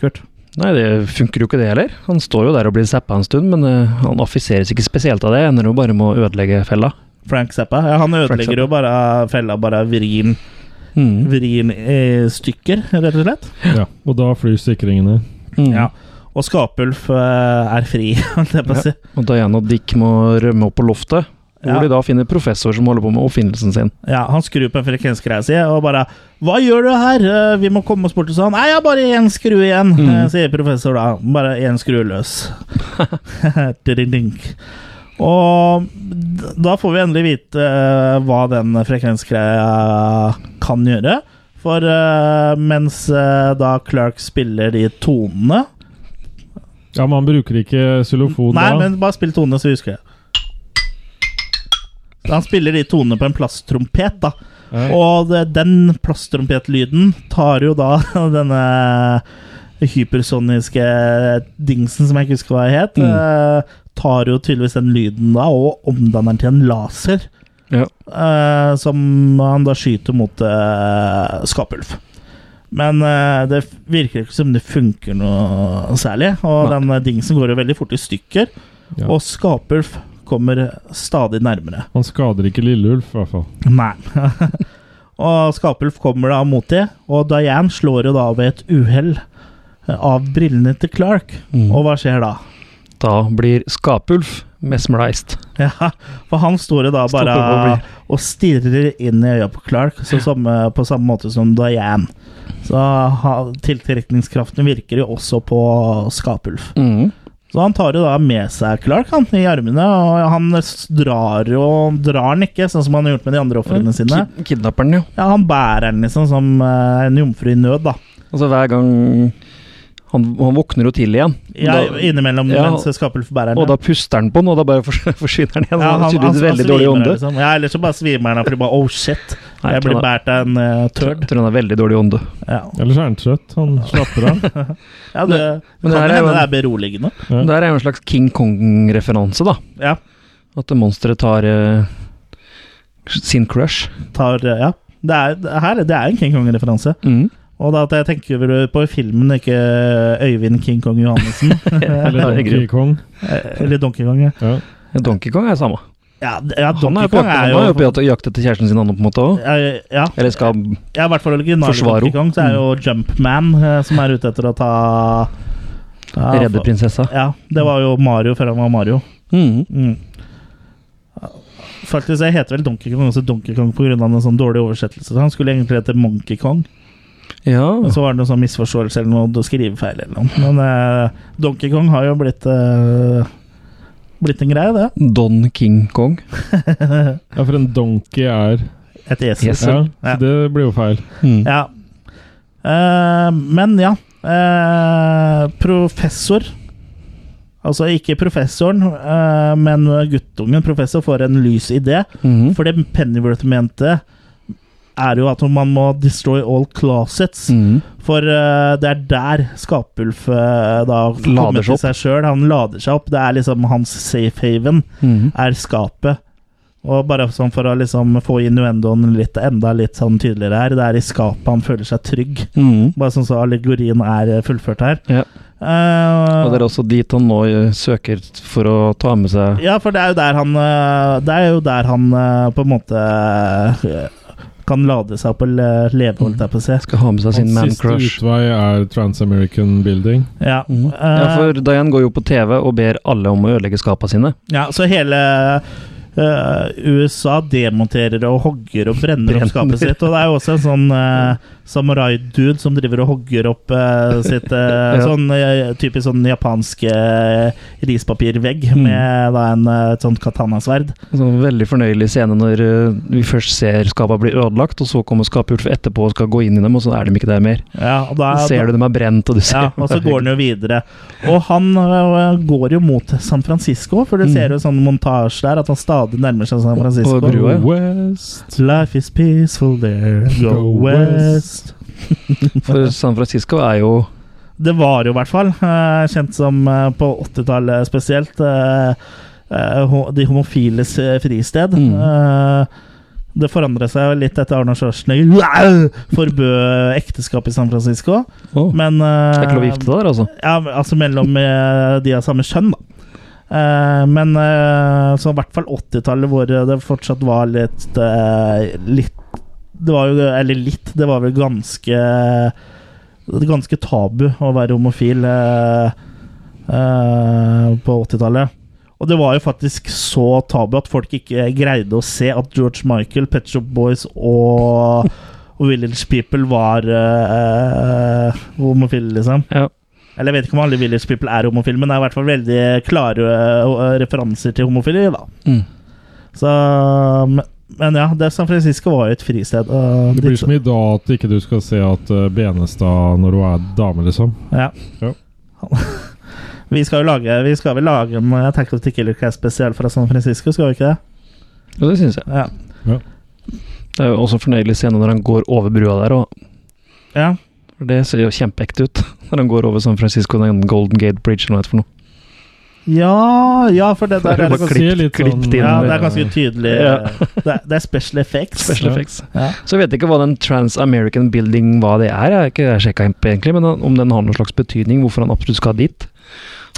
Speaker 1: Kurt?
Speaker 4: Nei, det funker jo ikke det heller. Han står jo der og blir zappa en stund, men eh, han affiseres ikke spesielt av det. Ender jo bare med å ødelegge fella.
Speaker 1: Frank Zappa? Ja, han ødelegger
Speaker 4: Zappa.
Speaker 1: jo bare eh, fella, bare vrir den-
Speaker 4: Mm.
Speaker 1: vrir den i stykker, rett og slett.
Speaker 2: Ja, og da flyr sikringene.
Speaker 4: Mm.
Speaker 1: Ja. Og Skapulf eh, er fri, holdt jeg på å si.
Speaker 4: Og Diana og Dick må rømme opp på loftet.
Speaker 1: Ja.
Speaker 4: Hvor de da finner professor som holder på med oppfinnelsen sin.
Speaker 1: Ja, Han skrur på en frekvensgreie si og bare 'Hva gjør du her? Eh, Vi må komme oss bort.' Og sånn 'Nei, jeg har bare én skru igjen', eh, sier professor da. Bare én skru løs. Ding-ding. og d- da får vi endelig vite eh, hva den frekvensgreia kan gjøre. For eh, mens eh, da Clark spiller de tonene
Speaker 2: Ja, men han bruker ikke xylofon
Speaker 1: Nei,
Speaker 2: da.
Speaker 1: men bare spill tonene, så husker jeg. Han spiller de tonene på en plasttrompet, da.
Speaker 2: Ja.
Speaker 1: Og det, den plasttrompetlyden tar jo da denne hypersoniske dingsen, som jeg ikke husker hva det het, eh, tar jo tydeligvis den lyden da og omdanner den til en laser.
Speaker 4: Ja.
Speaker 1: eh, som han da skyter mot uh, Skapulf. Men eh, det virker ikke som det funker noe særlig. Og
Speaker 4: Nei.
Speaker 1: den dingsen går jo veldig fort i stykker,
Speaker 2: Ja.
Speaker 1: og Skapulf kommer stadig nærmere.
Speaker 2: Han skader ikke Lilleulf, i hvert fall.
Speaker 1: Nei. og Skapulf kommer da mot dem, og Diane slår jo da ved et uhell av brillene til Clark.
Speaker 4: Mm.
Speaker 1: Og hva skjer da?
Speaker 4: Da blir Skapulf mesmerized.
Speaker 1: Ja, For han står jo da
Speaker 4: Stopper
Speaker 1: bare
Speaker 4: på å bli-
Speaker 1: og stirrer inn i øya på Clark, så samme, på samme måte som Diane. Så ha- tiltrekningskraften virker jo også på Skapulf.
Speaker 4: Mm.
Speaker 1: Så han tar jo da med seg Clark han, i armene, og han s- drar jo Drar han ikke, sånn som han har gjort med de andre ofrene sine.
Speaker 4: Kid kidnapperen, ja.
Speaker 1: Ja, han bærer den liksom som eh, en jomfru i nød, da.
Speaker 4: Altså hver gang han, han våkner jo til igjen.
Speaker 1: Ja, innimellom
Speaker 4: ja,
Speaker 1: mens Skapulf bærer den.
Speaker 4: og da puster han på den, og da bare fors- forsvinner han igjen.
Speaker 1: Ja,
Speaker 4: han har tydeligvis veldig
Speaker 1: svimer,
Speaker 4: dårlig ånde.
Speaker 1: Liksom. Ja, Eller så bare svimer han av fordi bare Oh shit,
Speaker 4: Nei,
Speaker 1: jeg blir
Speaker 4: tror han-
Speaker 1: båret av en uh, tørd.
Speaker 4: Jeg tror han har veldig dårlig ånde.
Speaker 1: Ja.
Speaker 2: Ellers er han trøtt. Han slapper av.
Speaker 1: Ja, det,
Speaker 4: men
Speaker 1: kan
Speaker 4: det her
Speaker 1: hende
Speaker 4: er jo
Speaker 1: det
Speaker 4: en-
Speaker 1: er beroligende.
Speaker 2: Ja.
Speaker 4: Det her er jo en slags King Kong-referanse, da.
Speaker 1: Ja.
Speaker 4: At det monsteret tar eh, sin crush.
Speaker 1: Tar, eh, ja. Det er, det her, det er en King Kong-referanse. Og da at jeg tenker vel på filmen, ikke eh, Øyvind King Kong Johannessen. eh,
Speaker 2: Eller Donkey Kong.
Speaker 1: eller Donkey Kong. Ja,
Speaker 2: Ja.
Speaker 4: Donkey Kong er samme.
Speaker 1: ja, d- ja
Speaker 4: Han er
Speaker 1: Donkey
Speaker 4: jo på
Speaker 1: Kong
Speaker 4: jakt,
Speaker 1: er
Speaker 4: han
Speaker 1: jo
Speaker 4: er jo på jakt- jakt etter kjæresten sin, han på en måte òg.
Speaker 1: ja, ja,
Speaker 4: Eller skal
Speaker 1: ja, i hvert fall originale
Speaker 4: Forsvaro.
Speaker 1: Donkey Kong, så er jo
Speaker 4: Mm.
Speaker 1: Jumpman eh, som er ute etter å ta ja,
Speaker 4: redde
Speaker 1: for-
Speaker 4: prinsessa.
Speaker 1: Ja, det var jo Mario før han var Mario.
Speaker 4: Mm.
Speaker 1: Mm. Faktisk, jeg heter vel Donkey Kong også Donkey Kong pga. en sånn dårlig oversettelse. Så han skulle egentlig hete Monkey Kong,
Speaker 4: Ja.
Speaker 1: men så var det noen sånn misforståelse eller noe skrivefeil eller noe. Men eh, Donkey Kong har jo blitt eh, Blitt en greie, det.
Speaker 4: Don King Kong.
Speaker 2: ja, for en donkey er
Speaker 1: Et esel.
Speaker 4: Yes.
Speaker 2: Ja,
Speaker 1: Ja.
Speaker 2: så det blir jo feil.
Speaker 4: Mm.
Speaker 1: Ja. Eh, men ja eh, Professor Altså ikke professoren, eh, men guttungen professor får en lys idé.
Speaker 4: Mhm.
Speaker 1: For det Pennyworth mente, er jo at man må destroy all closets.
Speaker 4: Mhm.
Speaker 1: For eh, det er der Skapulf eh, da kommer
Speaker 4: Lader seg
Speaker 1: til
Speaker 4: opp.
Speaker 1: seg sjøl. Han lader seg opp. Det er liksom hans safe haven,
Speaker 4: Mhm.
Speaker 1: er skapet. Og bare sånn for å liksom få innuendoen litt, enda litt sånn tydeligere her, det er i skapet han føler seg trygg.
Speaker 4: Mhm.
Speaker 1: Bare sånn så allegorien er eh, fullført her.
Speaker 4: Ja.
Speaker 1: Eh,
Speaker 4: Og det er også dit han nå eh, søker for å ta med seg
Speaker 1: Ja, for det er jo der han øh, Det er jo der han øh, på en måte øh, kan lade seg opp og le- leve, holdt jeg på å si.
Speaker 4: Skal ha med seg sin man
Speaker 2: Hans siste
Speaker 4: crush.
Speaker 2: utvei er Trans-American Building.
Speaker 1: Ja.
Speaker 4: Mhm.
Speaker 1: Eh,
Speaker 4: Ja, for Diane går jo på TV og ber alle om å ødelegge skapa sine.
Speaker 1: ja, så hele øh, USA demonterer og hogger og brenner opp
Speaker 4: Brenner.
Speaker 1: skapet sitt. Og det er jo også en sånn øh, samurai-dude som driver og hogger opp øh, sitt øh,
Speaker 4: Ja.
Speaker 1: sånn øh, typisk sånn japansk øh, rispapirvegg
Speaker 4: Mhm.
Speaker 1: med da en, øh, et sånt katanasverd.
Speaker 4: Så Sånn veldig fornøyelig scene når eh, vi først ser skapa bli ødelagt, og så kommer skapulf etterpå og skal gå inn i dem, og så er de ikke der mer.
Speaker 1: Ja, og da,
Speaker 4: Så ser du dem er brent, og du ser
Speaker 1: Ja, og så går han jo videre. Og han øh, går jo mot San Francisco, for du ser jo sånn montasje der at han stadig nærmer seg San Francisco.
Speaker 4: Mm. Og brua, ja.
Speaker 2: West.
Speaker 1: Life is peaceful there, go
Speaker 2: Go
Speaker 1: west.
Speaker 2: west.
Speaker 4: For San Francisco er jo
Speaker 1: Det var jo i hvert fall eh, kjent som eh, på 80-tallet spesielt eh, eh, ho- de homofiles eh, fristed.
Speaker 4: Mm.
Speaker 1: Eh, det forandret seg jo litt etter Arnold Schwarzenegger forbød ekteskap i San Francisco,
Speaker 4: Åh,
Speaker 1: men eh,
Speaker 4: Det er ikke lov å gifte deg der, altså.
Speaker 1: Ja, men altså mellom eh, de av samme kjønn, da. Eh, men eh, så i hvert fall 80-tallet, hvor det fortsatt var litt eh, Litt Det var jo Eller litt, det var vel ganske Ganske tabu å være homofil eh, eh, på 80-tallet. Og det var jo faktisk så tabu at folk ikke greide å se at George Michael, Pet Shop Boys og, og Village People var eh, eh, homofile, liksom.
Speaker 4: Ja.
Speaker 1: Eller jeg vet ikke om alle Village People er homofile, men det er i hvert fall veldig klare eh, referanser til homofili, da.
Speaker 4: Mm.
Speaker 1: Så men- Men ja, det San Francisco var jo et fristed. Og
Speaker 2: Det blir som i dag at ikke du skal se at eh, Benestad når hun er dame, liksom.
Speaker 1: Ja.
Speaker 2: Ja.
Speaker 1: vi skal jo lage Vi skal vel lage en eh, Attack of the Killer Cast spesiell fra San Francisco, skal vi ikke det?
Speaker 4: Og det syns jeg.
Speaker 1: Ja.
Speaker 4: Det er jo også en fornøyelig scene når han går over brua der, og
Speaker 1: ja.
Speaker 4: for det ser jo kjempeekte ut. Når han går over San Francisco, den Golden Gate Bridge eller noe for noe.
Speaker 1: Ja, ja, for det der er
Speaker 4: Bare
Speaker 1: det
Speaker 2: kan
Speaker 1: ganske,
Speaker 2: se litt
Speaker 4: klippet
Speaker 2: sånn-
Speaker 4: inn.
Speaker 1: ja, det er ganske tydelig eh,
Speaker 4: Ja.
Speaker 1: det, er, det er special effects.
Speaker 4: Special
Speaker 2: Ja.
Speaker 4: effects.
Speaker 1: Ja.
Speaker 4: Så jeg vet ikke hva den Trans-American Building hva det er. Jeg har ikke sjekka egentlig, men om den har noen slags betydning, hvorfor han absolutt skal dit.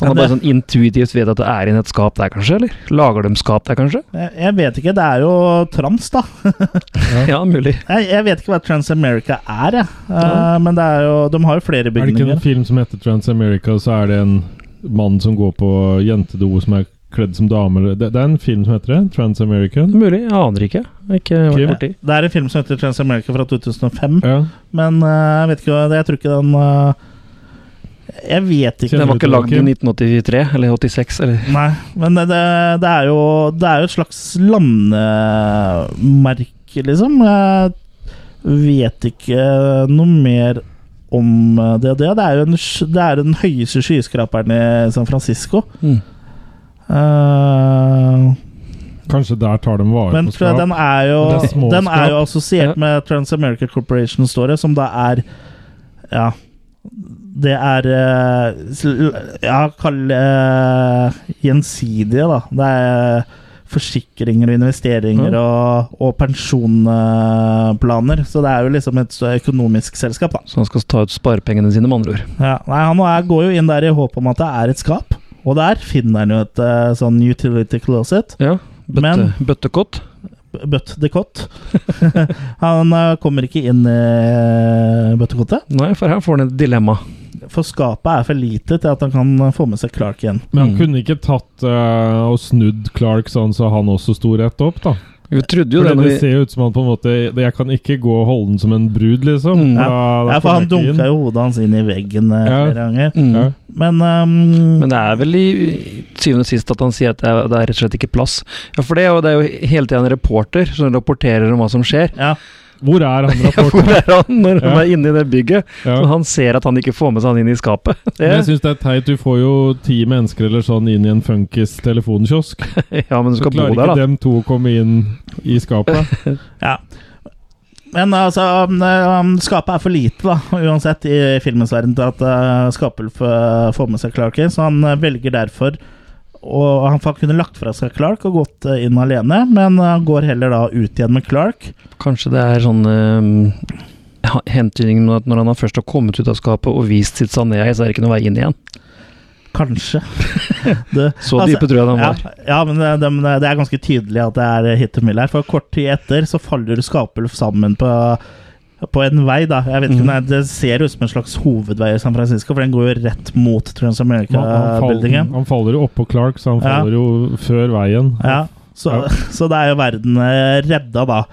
Speaker 4: Han
Speaker 1: Ja,
Speaker 4: har
Speaker 1: det-
Speaker 4: bare sånn intuitivt vet at det er inn et skap der, kanskje? Eller lager de skap der, kanskje?
Speaker 1: Jeg, jeg vet ikke. Det er jo trans, da.
Speaker 4: Ja, mulig.
Speaker 1: Jeg, jeg vet ikke hva Trans-America er, jeg. Eh,
Speaker 4: Ja.
Speaker 1: Men det er jo, de har jo flere
Speaker 2: Er det ikke
Speaker 1: bygninger.
Speaker 2: en film som heter Transamerica, så er det en mann som går på jentedo som er kledd som dame? eller- Det, det er en film som heter det? Transamerican?
Speaker 4: Mulig. Jeg aner ikke. Ikke
Speaker 2: Kim?
Speaker 4: vært borti.
Speaker 1: Det er en film som heter Trans-America fra 2005,
Speaker 2: Ja.
Speaker 1: men eh, jeg vet ikke hva- Jeg tror ikke den eh, Jeg vet ikke.
Speaker 2: Kjenner
Speaker 4: Den var
Speaker 2: du
Speaker 4: ikke
Speaker 2: til
Speaker 4: lagd i
Speaker 2: Kim?
Speaker 4: 1983 eller 86 eller
Speaker 1: Nei, men det, det, det, er, jo, det er jo et slags landemerke, liksom. Jeg vet ikke noe mer om eh, det. Det, det er jo en, sj- det er den høyeste skyskraperen i San Francisco.
Speaker 4: Mm.
Speaker 1: Eh,
Speaker 2: Kanskje der tar de vare
Speaker 1: men
Speaker 2: på
Speaker 1: tror jeg
Speaker 2: skap?
Speaker 1: den er jo,
Speaker 2: Det er små
Speaker 1: den er jo assosiert
Speaker 4: Ja.
Speaker 1: med Transamerica Corporation, står det, som da er Ja. Det er eh, sl- Ja, kall eh, gjensidige, da. Det er forsikringer og investeringer og, og pensjonsplaner. Så det er jo liksom et så økonomisk selskap, da.
Speaker 4: Så han skal ta ut sparepengene sine, med andre ord.
Speaker 1: Ja. Nei, han er, går jo inn der i håp om at det er et skap, og der finner han jo et eh, sånn utility closet.
Speaker 4: Ja. Bøtte,
Speaker 1: Men-
Speaker 4: bøttekott.
Speaker 1: Bøtt the Cot. han eh, kommer ikke inn i bøttekottet,
Speaker 4: Nei, for her får han et dilemma.
Speaker 1: for skapet er for lite til at han kan få med seg Clark igjen.
Speaker 2: Men han
Speaker 4: Mm.
Speaker 2: kunne ikke tatt eh, og snudd Clark sånn så han også sto rett opp, da?
Speaker 4: Vi trodde jo
Speaker 2: For
Speaker 4: det
Speaker 2: det,
Speaker 4: når vi
Speaker 2: ser jo ut som han på en måte Jeg kan ikke gå og holde den som en brud, liksom.
Speaker 4: Mm.
Speaker 2: Da- da
Speaker 1: Ja, for
Speaker 2: kommer
Speaker 1: han
Speaker 2: jeg ikke inn.
Speaker 1: dunka jo hodet hans inn i veggen eh,
Speaker 2: Ja.
Speaker 1: flere ganger.
Speaker 4: mm.
Speaker 2: Ja.
Speaker 1: Men, ehm,
Speaker 4: Men det er vel i syvende og sist at han sier at det er, det er rett og slett ikke plass. Ja, for det, er jo- det er jo hele tida en reporter som rapporterer om hva som skjer.
Speaker 1: ja,
Speaker 2: Hvor er han
Speaker 4: Hvor
Speaker 2: rapporten?
Speaker 4: er han når han
Speaker 2: Ja.
Speaker 4: er inne i det bygget?
Speaker 2: Ja.
Speaker 4: Og han ser at han ikke får med seg han inn i skapet.
Speaker 2: Men jeg
Speaker 4: Det,
Speaker 2: syns det er teit. Du får jo ti mennesker eller sånn inn i en funkis telefonkiosk.
Speaker 4: ja, men
Speaker 2: Så
Speaker 4: du skal bo
Speaker 2: klarer ikke
Speaker 4: der, da.
Speaker 2: dem to å komme inn i skapet.
Speaker 1: ja. Men altså, ehm, skapet er for lite, da, uansett, i filmens verden, til at eh, skapet vil få- få med seg Clark igjen, så han eh, velger derfor og Han kunne lagt fra seg Clark og gått eh, inn alene, men han går heller da ut igjen med Clark.
Speaker 4: Kanskje det er sånn eh, ha- hentydning med at når han har først har kommet ut av skapet og vist sitt sanne jeg, så er det ikke noen vei inn igjen.
Speaker 1: Kanskje.
Speaker 4: Så
Speaker 1: Altså,
Speaker 4: dype tror jeg de
Speaker 1: Ja,
Speaker 4: var.
Speaker 1: ja men det, det, det er ganske tydelig at det er hit og mill her. For kort tid etter så faller Skapel sammen på, på en vei, da. Jeg
Speaker 2: Mhm.
Speaker 1: vet ikke om det, er- det ser ut som en slags hovedvei i San Francisco, for den går jo rett mot
Speaker 2: Han, han, faller,
Speaker 1: Transamerica-buildingen.
Speaker 2: han faller jo oppå Clark, så han
Speaker 1: Ja.
Speaker 2: faller jo før veien.
Speaker 1: Ja, så,
Speaker 2: Ja.
Speaker 1: så det er jo verden eh, redda, da.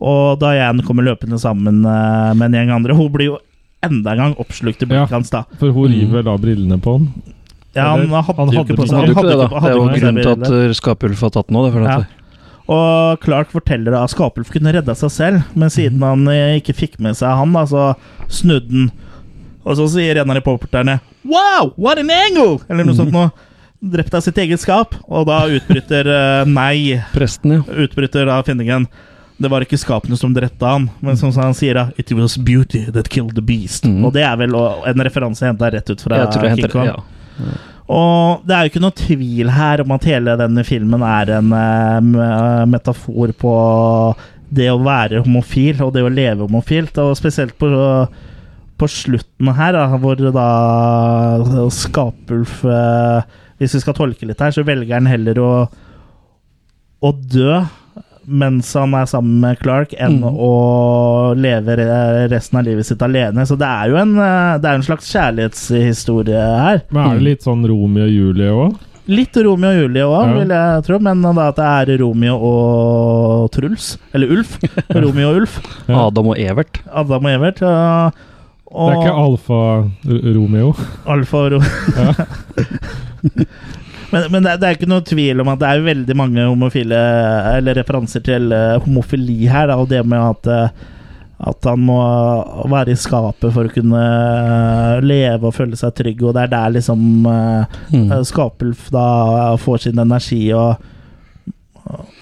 Speaker 1: Og Diane kommer løpende sammen eh, med en gjeng andre. Hun blir jo enda en gang oppslukt i
Speaker 2: Ja.
Speaker 1: blikket hans, da.
Speaker 2: For hun
Speaker 4: Mm.
Speaker 2: river da brillene på han.
Speaker 1: Ja, Altså, han
Speaker 2: Eller-
Speaker 1: hadde
Speaker 2: han
Speaker 1: jo
Speaker 2: hadde
Speaker 1: ikke på seg
Speaker 2: ikke-
Speaker 4: Han hadde jo ikke det,
Speaker 1: hadde
Speaker 4: da. Det
Speaker 1: hadde
Speaker 4: er
Speaker 1: ikke
Speaker 4: jo
Speaker 1: på seg
Speaker 4: grunnen til at
Speaker 1: brillene.
Speaker 4: eh, Skapulf har tatt den nå. Det er fordi
Speaker 1: Ja.
Speaker 4: at- uh,
Speaker 1: Og Clark forteller at Skapulf kunne redda seg selv, men siden
Speaker 4: Mhm.
Speaker 1: han eh, ikke fikk med seg han, da, så snudde han. Og så sier en av reporterne Wow, what an angle! Eller noe
Speaker 4: Mhm.
Speaker 1: sånt noe. Drept av sitt eget skap. Og da utbryter eh, Nei.
Speaker 4: Presten, ja.
Speaker 1: Utbryter da Finningen. Det var ikke skapene som drepte han, men som han sier, da It was beauty that killed the beast.
Speaker 4: Mhm.
Speaker 1: Og det er vel eh, en referanse henta rett ut fra
Speaker 4: Jeg tror jeg
Speaker 1: King
Speaker 4: henter
Speaker 1: Kong.
Speaker 4: det. Ja.
Speaker 1: Og det er jo ikke noe tvil her om at hele denne filmen er en eh, me- metafor på det å være homofil og det å leve homofilt. Og spesielt på, på slutten her, da, hvor da Skapulf eh, Hvis vi skal tolke litt her, så velger han heller å, å dø mens han er sammen med Clark, enn
Speaker 4: Mm.
Speaker 1: å leve re- resten av livet sitt alene. Så det er jo en, eh, det er en slags kjærlighetshistorie her.
Speaker 4: Mm.
Speaker 2: Men er det litt sånn Romeo og Julie òg?
Speaker 1: Litt Romeo og Julie òg,
Speaker 2: Ja.
Speaker 1: vil jeg tro, men da at det er Romeo og Truls. Eller Ulf. Romeo og Ulf.
Speaker 2: Ja.
Speaker 4: Adam og Evert.
Speaker 1: Adam og Evert. Og,
Speaker 2: Det er
Speaker 1: og
Speaker 2: ikke alfa-Romeo.
Speaker 1: Alfa og Ro. men men det, er, det er ikke noe tvil om at det er veldig mange homofile Eller referanser til eh, homofili her, da, og det med at eh, at han må være i skapet for å kunne eh, leve og føle seg trygg, og det er der liksom eh,
Speaker 4: Mm.
Speaker 1: Eh, Skapelf da får sin energi og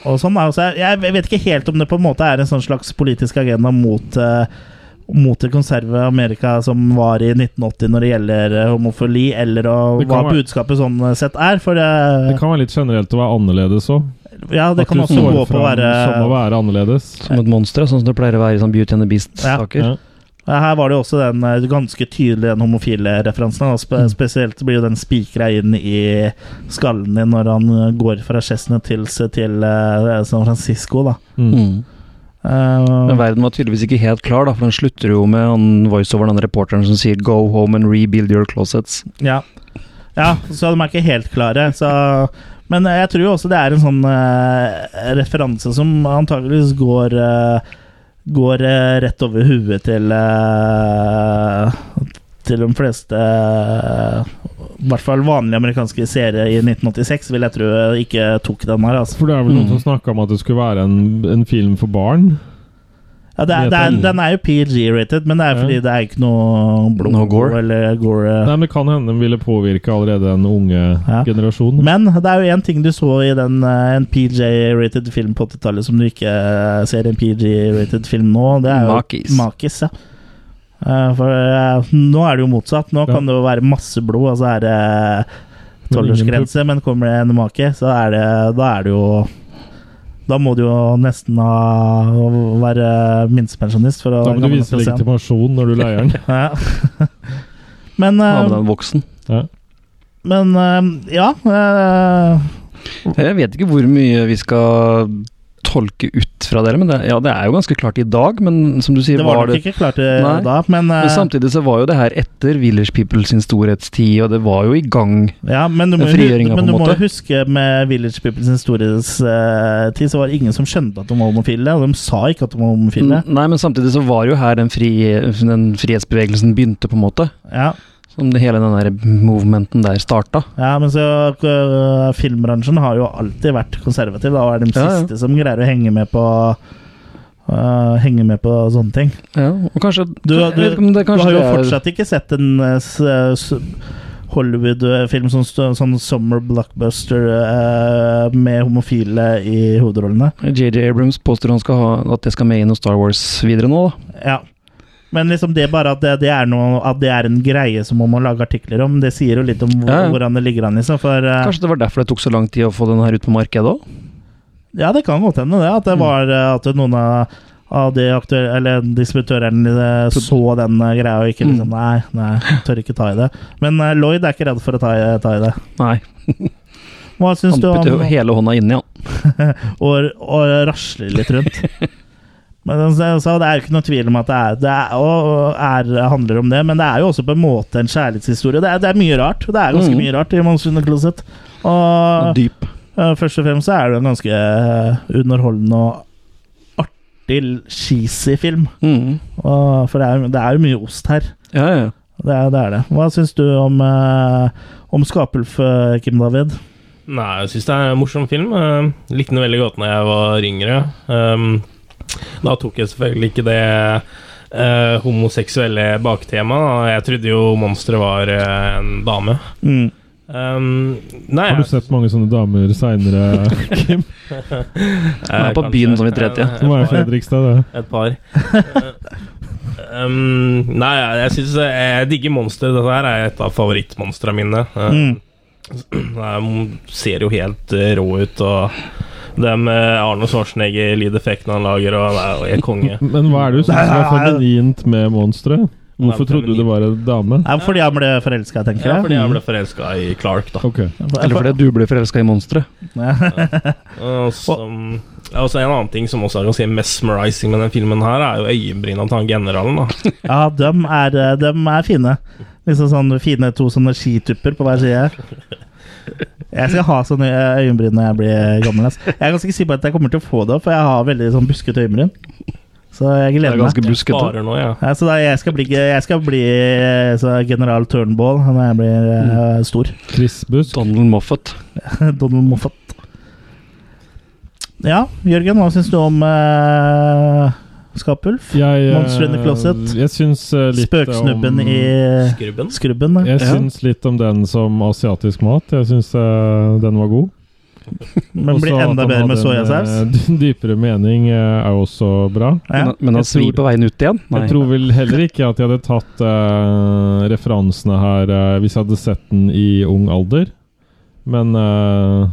Speaker 1: og sånn da. Så jeg- jeg vet ikke helt om det på en måte er en sånn slags politisk agenda mot eh, mot det konserve Amerika som var i 1980 når det gjelder eh, homofili, eller å,
Speaker 2: Det kan
Speaker 1: hva
Speaker 2: være-
Speaker 1: budskapet sånn sett er. For
Speaker 2: Det
Speaker 1: det,
Speaker 2: kan være litt generelt å være annerledes òg.
Speaker 1: ja, det kan også gå på å være
Speaker 2: Som å være annerledes.
Speaker 4: Som et monster, sånn som det pleier å være i sånn Beauty and the Beast-saker.
Speaker 2: Ja.
Speaker 1: Ja, Her var det jo også den eh, ganske tydelige den homofile referansen. Og
Speaker 2: Mm.
Speaker 1: spe spesielt blir jo den spikra inn i skallen din når han eh, går fra Chestnut Hills til eh, San Francisco, da.
Speaker 4: Mm.
Speaker 1: Eh,
Speaker 4: Men verden var tydeligvis ikke helt klar, da, for den slutter jo med han voiceoveren, han reporteren som sier 'go home and rebuild your closets'.
Speaker 1: Ja. ja, så de er ikke helt klare. Så, men jeg tror jo også det er en sånn eh, referanse som antakeligvis går eh, Går eh, rett over huet til eh, Til de fleste eh, I hvert fall vanlige amerikanske seere i 1986, vil jeg tro eh, ikke tok den her. Altså.
Speaker 2: For det er vel noen
Speaker 4: Mm.
Speaker 2: som snakka om at det skulle være en, en film for barn?
Speaker 1: Ja, det er, det er, den er jo PG-rated, men det er fordi det er ikke noe blod
Speaker 4: No gore.
Speaker 1: eller gore.
Speaker 2: Nei, men Det kan hende den ville påvirke allerede en unge
Speaker 1: Ja.
Speaker 2: generasjon.
Speaker 1: Men det er jo én ting du så i den, eh, en PJ-rated film på 80-tallet som du ikke eh, ser i en PJ-rated film nå. Det er jo
Speaker 4: Makis.
Speaker 1: Makis, ja. Eh, For eh, nå er det jo motsatt. Nå kan det jo være masse blod, og så er det
Speaker 2: Men ingen
Speaker 1: tolvårsgrense, men kommer det en make, så er det Da er det jo Da må du jo nesten ha, være minstepensjonist for å
Speaker 2: Da må
Speaker 1: være
Speaker 2: du
Speaker 1: gammel nok
Speaker 2: vise
Speaker 1: til å se den.
Speaker 2: legitimasjon når du leier den.
Speaker 1: Ja. Men,
Speaker 4: Ha med
Speaker 1: eh,
Speaker 4: den voksen.
Speaker 2: Ja.
Speaker 1: men eh, ja. eh,
Speaker 4: Jeg vet ikke hvor mye vi skal tolke ut fra dere, men det, ja, det er jo ganske klart i dag. Men som du sier,
Speaker 1: Det var, nok ikke klart eh,
Speaker 4: Nei.
Speaker 1: da, men, eh,
Speaker 4: men samtidig så var jo det her etter Village People sin storhetstid, og det var jo i gang.
Speaker 1: ja, men du må,
Speaker 4: frigjøringa, på
Speaker 1: men
Speaker 4: en
Speaker 1: du må
Speaker 4: måte.
Speaker 1: huske med Village People sin storhetstid, så var det ingen som skjønte at de var homofile, og de sa ikke at de var homofile.
Speaker 4: N- Nei, men samtidig så var jo her den, fri, den frihetsbevegelsen begynte, på en måte.
Speaker 1: Ja,
Speaker 4: Som det, hele den der movementen der starta.
Speaker 1: ja men så eh, filmbransjen har jo alltid vært konservativ, da, og er de
Speaker 4: Ja, ja.
Speaker 1: siste som greier å henge med på eh, henge med på sånne ting.
Speaker 4: Ja, og kanskje
Speaker 1: Du,
Speaker 4: jeg
Speaker 1: du,
Speaker 4: vet ikke om det,
Speaker 1: du
Speaker 4: kanskje
Speaker 1: har jo
Speaker 4: det er-
Speaker 1: fortsatt ikke sett en eh, s- eh, s- Hollywood-film som st- sånn summer blockbuster eh, med homofile i hovedrollene.
Speaker 4: JJ Abrams påstår han skal ha at det skal med i noe Star Wars videre nå, da.
Speaker 1: Ja. Men liksom det bare at det, det, er noe, at det er en greie som man må lage artikler om, det sier jo litt om hvor,
Speaker 4: Ja, ja.
Speaker 1: hvordan det ligger an. Liksom, for eh,
Speaker 4: Kanskje det var derfor det tok så lang tid å få den her ut på markedet òg?
Speaker 1: Ja, det kan godt hende det. At
Speaker 4: Mm.
Speaker 1: det var eh, at noen av, av de aktuelle, eller distributørene eh, så den eh, greia og ikke
Speaker 4: Mm.
Speaker 1: liksom Nei, nei, tør ikke ta i det. Men eh, Lloyd er ikke redd for å ta i, ta i det.
Speaker 4: Nei.
Speaker 1: Hva syns
Speaker 4: Han
Speaker 1: du
Speaker 4: putter
Speaker 1: om
Speaker 4: jo hele hånda inni, han.
Speaker 1: å å rasle litt rundt? Men som jeg sa, det er jo ikke noe tvil om at det er, det er, og og er, handler om det, men det er jo også på en måte en kjærlighetshistorie. Det er, det er mye rart. Det er ganske
Speaker 4: Mhm.
Speaker 1: mye rart i Monsun og Closet.
Speaker 4: Og
Speaker 1: Og
Speaker 4: Dyp.
Speaker 1: eh, først og fremst så er det en ganske eh, underholdende og artig, cheesy film.
Speaker 4: Mm.
Speaker 1: Og, for det er, jo- det er jo mye ost her.
Speaker 4: Ja, ja, ja.
Speaker 1: Det er det. Er det. Hva syns du om, eh, om Skapulf, eh, Kim David?
Speaker 3: Nei, jeg syns det er en morsom film. Eh, likte den veldig godt når jeg var yngre. Ehm, da tok jeg selvfølgelig ikke det eh, homoseksuelle baktemaet. Jeg trodde jo monsteret var eh, en dame.
Speaker 1: Mm.
Speaker 3: Ehm, nei,
Speaker 2: Har du
Speaker 3: jeg-
Speaker 2: sett mange sånne damer seinere, Kim?
Speaker 4: er på
Speaker 3: eh, kanskje.
Speaker 4: byen som vi tredje.
Speaker 3: Eh,
Speaker 2: Som er i Fredrikstad, det.
Speaker 3: Et par. Eh, um, nei, jeg- jeg syns jeg digger monstre. Dette her er et av favorittmonstrene mine. Eh,
Speaker 1: Mm.
Speaker 3: De ser jo helt eh, rå ut, og de med Arne Schwarzenegger, lydeffekten han lager, og han er jo helt konge.
Speaker 2: Men hva er det du syns var feminint med monsteret? Hvorfor trodde du det var en dame?
Speaker 1: Ja, fordi han ble forelska, tenker jeg.
Speaker 3: Ja, fordi jeg ble
Speaker 1: mm.
Speaker 3: forelska i Clark, da.
Speaker 2: Ok.
Speaker 4: Eller fordi du ble forelska i monsteret.
Speaker 3: Og som- ja, og så en annen ting som også er ganske mesmerizing med den filmen her, er jo øyenbryna til han generalen, da.
Speaker 1: Ja, dem er, dem er fine. Liksom sånn fine to sånne skitupper på hver side. Jeg skal ha sånne ø- øyenbryn når jeg blir gammel. ass. Jeg er ganske sikker på at jeg kommer til å få det, for jeg har veldig sånn buskete øyenbryn. Så jeg
Speaker 4: Det er
Speaker 1: gleder meg.
Speaker 4: ganske buskete.
Speaker 3: Sparer nå, ja.
Speaker 1: Ja, så da, jeg skal bli, jeg skal bli eh, så general Turnbull når jeg blir eh,
Speaker 4: Mm.
Speaker 1: stor.
Speaker 2: Chris Busk.
Speaker 4: Donald Moffat.
Speaker 1: Donald Moffat. Ja, Jørgen, hva syns du om eh, Skapulf?
Speaker 2: Jeg, eh,
Speaker 1: Monster in the Closet.
Speaker 2: Jeg syns eh, litt
Speaker 1: Spøksnubben
Speaker 2: om,
Speaker 1: i
Speaker 3: Skrubben.
Speaker 1: Skrubben. da.
Speaker 2: Jeg syns litt om den som asiatisk mat. Jeg syns eh, den var god.
Speaker 1: Men blir
Speaker 2: Også at
Speaker 1: enda
Speaker 2: han
Speaker 1: bedre med
Speaker 2: hadde en,
Speaker 1: soyasaus.
Speaker 2: eh, Dypere mening eh, er også bra.
Speaker 1: Ja.
Speaker 4: Men, men
Speaker 2: Jeg
Speaker 4: han
Speaker 2: tror-
Speaker 4: svir på veien ut igjen? Nei.
Speaker 2: Jeg tror vel heller ikke at jeg hadde tatt eh, referansene her eh, hvis jeg hadde sett den i ung alder. Men eh,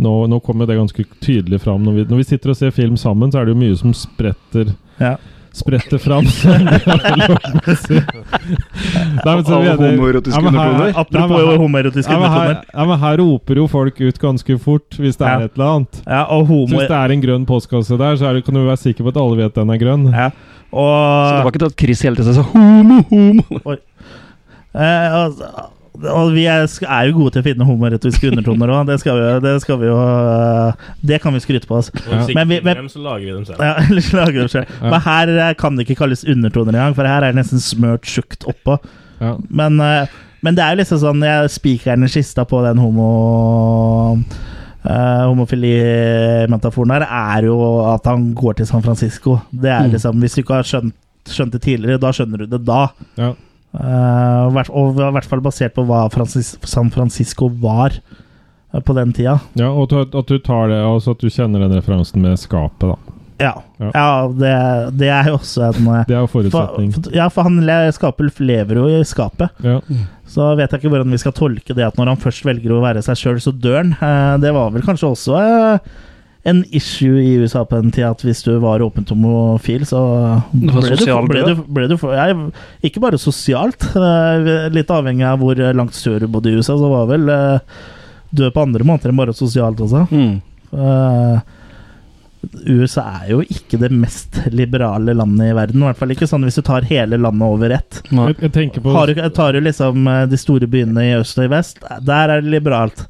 Speaker 2: nå, nå kommer det ganske tydelig fram. Når vi, når vi sitter og ser film sammen, så er det jo mye som spretter
Speaker 1: Ja.
Speaker 2: Spretter fram. som det er lov å si. Nei, men så
Speaker 4: Alle
Speaker 2: mener-
Speaker 4: homoerotiske
Speaker 2: Ja, men her-
Speaker 4: undertoner.
Speaker 2: Nei, men
Speaker 1: Apropos
Speaker 2: her-
Speaker 1: homoerotiske
Speaker 2: ja, men her,
Speaker 1: undertoner.
Speaker 2: ja, men her roper jo folk ut ganske fort hvis det
Speaker 1: Ja.
Speaker 2: er et eller annet.
Speaker 1: Ja, og
Speaker 2: Så
Speaker 1: homo...
Speaker 2: hvis det er en grønn postkasse der, så er det, kan du være sikker på at alle vet den er grønn.
Speaker 1: Ja.
Speaker 4: Så det
Speaker 1: Og
Speaker 4: var ikke det at Chris hele tiden sa 'homo, homo'?
Speaker 1: Eh, og, og vi er, sk- er jo gode til å finne homoretoriske undertoner òg. Det, skal vi- det skal vi jo eh, Det kan vi skryte på oss.
Speaker 3: Og hvis ikke
Speaker 1: Men vi-
Speaker 3: finner
Speaker 1: men-
Speaker 3: dem, så lager vi dem selv.
Speaker 1: Ja, ellers lager vi det selv.
Speaker 2: Ja.
Speaker 1: Men her eh, kan det ikke kalles undertoner engang, for her er det nesten smørt tjukt oppå.
Speaker 2: Ja.
Speaker 1: Men, eh, men det er jo liksom sånn Jeg spikeren i kista på den homo... Uh, Homofilimetaforen her er jo at han går til San Francisco. Det er liksom Hvis du ikke har skjønt, skjønt det tidligere, da skjønner du det da.
Speaker 2: Ja.
Speaker 1: Eh, hvert- og i hvert fall basert på hva Francis, San Francisco var eh, på den tida.
Speaker 2: Ja, og at, at du tar det, altså at du kjenner den referansen med skapet, da.
Speaker 1: Ja,
Speaker 2: Ja.
Speaker 1: ja. det, det er jo også en eh,
Speaker 2: Det er jo
Speaker 1: for,
Speaker 2: forutsetning.
Speaker 1: for, Ja, for han le- Skapulf lever jo i skapet.
Speaker 2: Ja.
Speaker 1: Så vet jeg ikke hvordan vi skal tolke det at når han først velger å være seg sjøl, så dør han. Eh, det var vel kanskje også eh, en issue i USA på den tida at hvis du var åpent homofil, så
Speaker 4: Det var
Speaker 1: ble du,
Speaker 4: sosial
Speaker 1: ble
Speaker 4: død.
Speaker 1: du, ble du for, ja, Ikke bare sosialt, eh, litt avhengig av hvor langt sør du bodde i USA, så var vel eh, død på andre måter enn bare sosialt også.
Speaker 4: Mm.
Speaker 1: Eh, USA er jo ikke det mest liberale landet i verden. I hvert fall ikke sånn hvis du tar hele landet over ett.
Speaker 4: Nei.
Speaker 2: Jeg, jeg tenker på
Speaker 1: Har du, tar du liksom eh, de store byene i øst og i vest, der er det liberalt.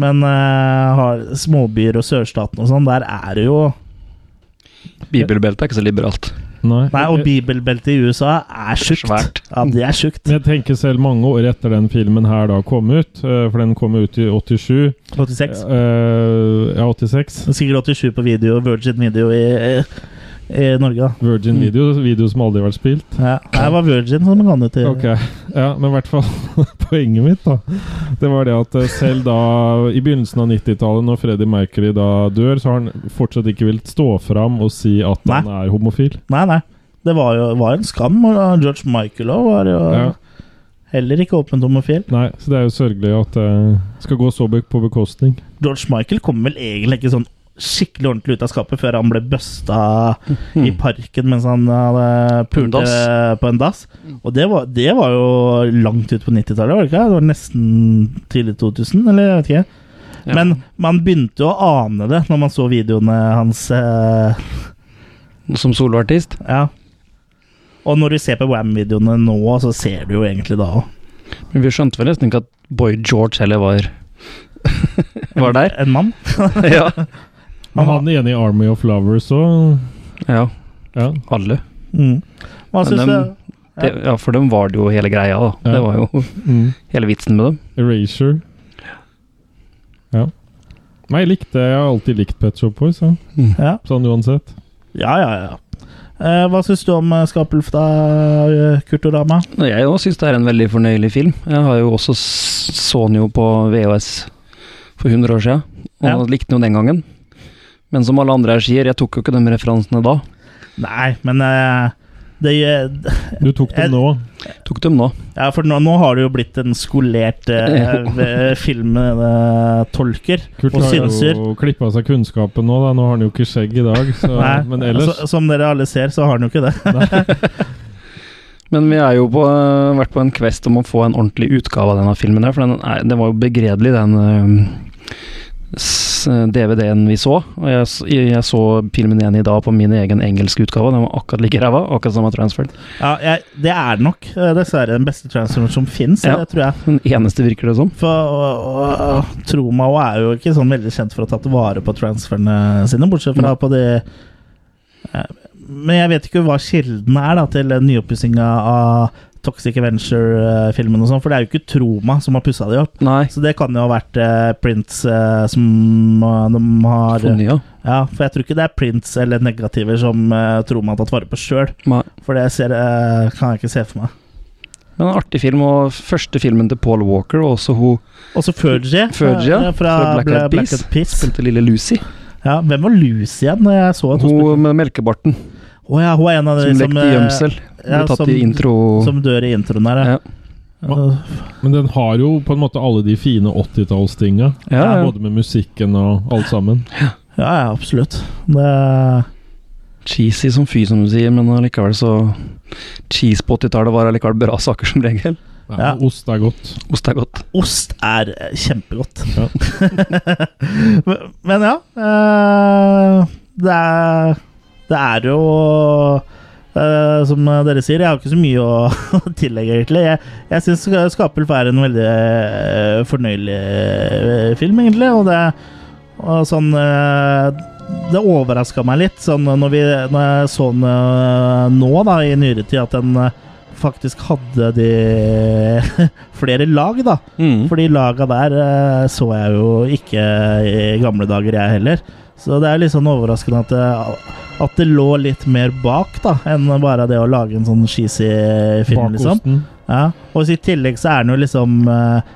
Speaker 1: Men eh, har småbyer og sørstaten og sånn, der er det jo
Speaker 4: Bibelbeltet er ikke så liberalt.
Speaker 2: Nei.
Speaker 1: Nei, og
Speaker 2: jeg,
Speaker 1: bibelbeltet i USA er sjukt.
Speaker 4: Svært.
Speaker 1: Ja, det er sjukt.
Speaker 2: jeg tenker selv mange år etter den filmen her da kom ut, eh, for den kom ut i 87.
Speaker 1: 86.
Speaker 2: eh, ja, 86.
Speaker 1: Sikkert 87 på video, Virgin Video i, i Norge, da.
Speaker 2: Virgin Video, video som aldri har vært spilt.
Speaker 1: Ja, det var Virgin som ga det til.
Speaker 2: Ok, ja, Men i hvert fall poenget mitt da Det var det at eh, selv da i begynnelsen av 90-tallet, når Freddie Mercury da dør, så har han fortsatt ikke villet stå fram og si at
Speaker 1: Nei.
Speaker 2: han er homofil.
Speaker 1: Nei, nei. Det var jo var en skam. og George Michael også var jo
Speaker 2: Ja.
Speaker 1: heller ikke åpent homofil.
Speaker 2: Nei, Så det er jo sørgelig at det skal gå så be- på bekostning.
Speaker 1: George Michael kom vel egentlig ikke sånn skikkelig ordentlig ut av skapet før han ble busta i parken mens han hadde
Speaker 4: Mhm. På en
Speaker 1: pulte på en dass. Og det var, det var jo langt ut på 90-tallet, var det ikke? Det var nesten tidlig 2000, eller jeg vet ikke.
Speaker 4: Ja.
Speaker 1: Men man begynte jo å ane det når man så videoene hans. eh,
Speaker 4: Som soloartist?
Speaker 1: Ja. Og når du ser på Wam-videoene nå, så ser du jo egentlig da òg.
Speaker 4: Men vi skjønte vel nesten ikke at Boy George heller var Var der.
Speaker 1: En mann.
Speaker 4: ja.
Speaker 2: Men han ene i Army of Lovers òg
Speaker 4: ja.
Speaker 2: ja.
Speaker 4: Alle.
Speaker 1: Mm. Hva
Speaker 4: Men
Speaker 1: syns
Speaker 4: dem-
Speaker 1: du?
Speaker 4: Det, ja, for dem var det jo hele greia, da.
Speaker 2: Ja.
Speaker 4: Det var jo
Speaker 2: mm.
Speaker 4: hele vitsen med dem.
Speaker 2: Erasure. Ja. Nei, jeg likte Jeg har alltid likt Pet Shop Boys, ja.
Speaker 1: Ja,
Speaker 2: sånn uansett.
Speaker 1: ja, ja. ja. Eh, hva syns du om eh, Skapulf, da, eh, Kurt Orama?
Speaker 4: Og Jeg òg syns det er en veldig fornøyelig film. Jeg har jo også s- så den jo på VHS for 100 år siden, og
Speaker 1: Ja.
Speaker 4: likte den jo den gangen. Men som alle andre her sier, jeg tok jo ikke de referansene da.
Speaker 1: Nei, men eh, det eh,
Speaker 2: Du tok
Speaker 1: Jeg-
Speaker 2: dem nå.
Speaker 4: Tok dem nå.
Speaker 1: Ja, for nå, nå har det jo blitt en skolert
Speaker 4: Ja.
Speaker 1: uh, filmtolker.
Speaker 2: Kurt
Speaker 1: eh, Og
Speaker 2: har jo
Speaker 1: synser.
Speaker 2: klippa seg kunnskapen nå, da. Nå har han jo ikke skjegg i dag, så, men ellers
Speaker 1: så, altså, som dere alle ser, så har han jo ikke det.
Speaker 4: Men vi er jo på, øh, vært på en quest om å få en ordentlig utgave av denne filmen her, for den er, det var jo begredelig, den øh, s- eh, DVD-en vi så. Og jeg, s- jeg så filmen igjen i dag på min egen engelske utgave. Den var akkurat like ræva. Akkurat samme transfer.
Speaker 1: Ja, jeg, det er nok eh, dessverre den beste transferen som fins,
Speaker 4: Ja.
Speaker 1: det tror jeg.
Speaker 4: Den eneste, virker det som.
Speaker 1: For og- og Tromao er jo ikke sånn veldig kjent for å ha tatt vare på transferne sine, bortsett fra på de eh, Men jeg vet ikke hva kilden er da til den nyoppussinga av Toxic Adventure-filmen og sånn, for det er jo ikke Troma som har pussa de opp.
Speaker 4: Nei.
Speaker 1: Så det kan jo ha vært eh, Prince eh, som eh, de har
Speaker 4: Fornya.
Speaker 1: Ja, for jeg tror ikke det er Prince eller negativer som eh, Troma har tatt vare på sjøl,
Speaker 4: Nei.
Speaker 1: for det ser, eh, kan jeg ikke se for meg.
Speaker 4: Men en artig film, og første filmen til Paul Walker, og også hun
Speaker 1: Og så Fergie,
Speaker 4: Fergie, ja,
Speaker 1: eh, fra,
Speaker 4: fra Black
Speaker 1: Black
Speaker 4: Eyed Peas.
Speaker 1: Eyed Peas.
Speaker 4: spilte lille Lucy.
Speaker 1: Ja, hvem var Lucy igjen? når Jeg så at hun,
Speaker 4: Hun med melkebarten
Speaker 1: spilte- Å ja, hun er en av de
Speaker 4: som
Speaker 1: som,
Speaker 4: lekte
Speaker 1: eh,
Speaker 4: gjemsel. Ble
Speaker 1: ja,
Speaker 4: tatt
Speaker 1: som-
Speaker 4: i intro
Speaker 1: som dør i introen her.
Speaker 4: Ja.
Speaker 1: Ja. Ja.
Speaker 2: Men den har jo på en måte alle de fine 80-tallstinga.
Speaker 4: Ja, ja.
Speaker 2: Både med musikken og alt sammen.
Speaker 1: ja, ja, absolutt. Det,
Speaker 4: Cheesy som fy, som du sier, men allikevel så Cheese på 80-tallet var allikevel bra saker, som regel.
Speaker 2: Ja,
Speaker 1: Ja.
Speaker 2: Ost er godt.
Speaker 4: Ost er godt.
Speaker 1: ost er eh, kjempegodt.
Speaker 2: Ja.
Speaker 1: men, men ja eh, det, er, det er jo eh, som dere sier, jeg har ikke så mye å tillegge, egentlig. Jeg, jeg syns 'Skapulf' er en veldig eh, fornøyelig eh, film, egentlig. Og det, og sånn eh, Det overraska meg litt sånn, når, vi, når jeg så den eh, nå, da, i nyere tid, at den eh, faktisk hadde de flere lag, da.
Speaker 4: For-
Speaker 1: Fordi laga der eh, så jeg jo ikke i gamle dager, jeg heller. Så det er litt sånn overraskende at det, at det lå litt mer bak, da, enn bare det å lage en sånn cheesy film, liksom.
Speaker 2: Bakosten.
Speaker 1: Ja. Og så i tillegg så er den jo liksom eh,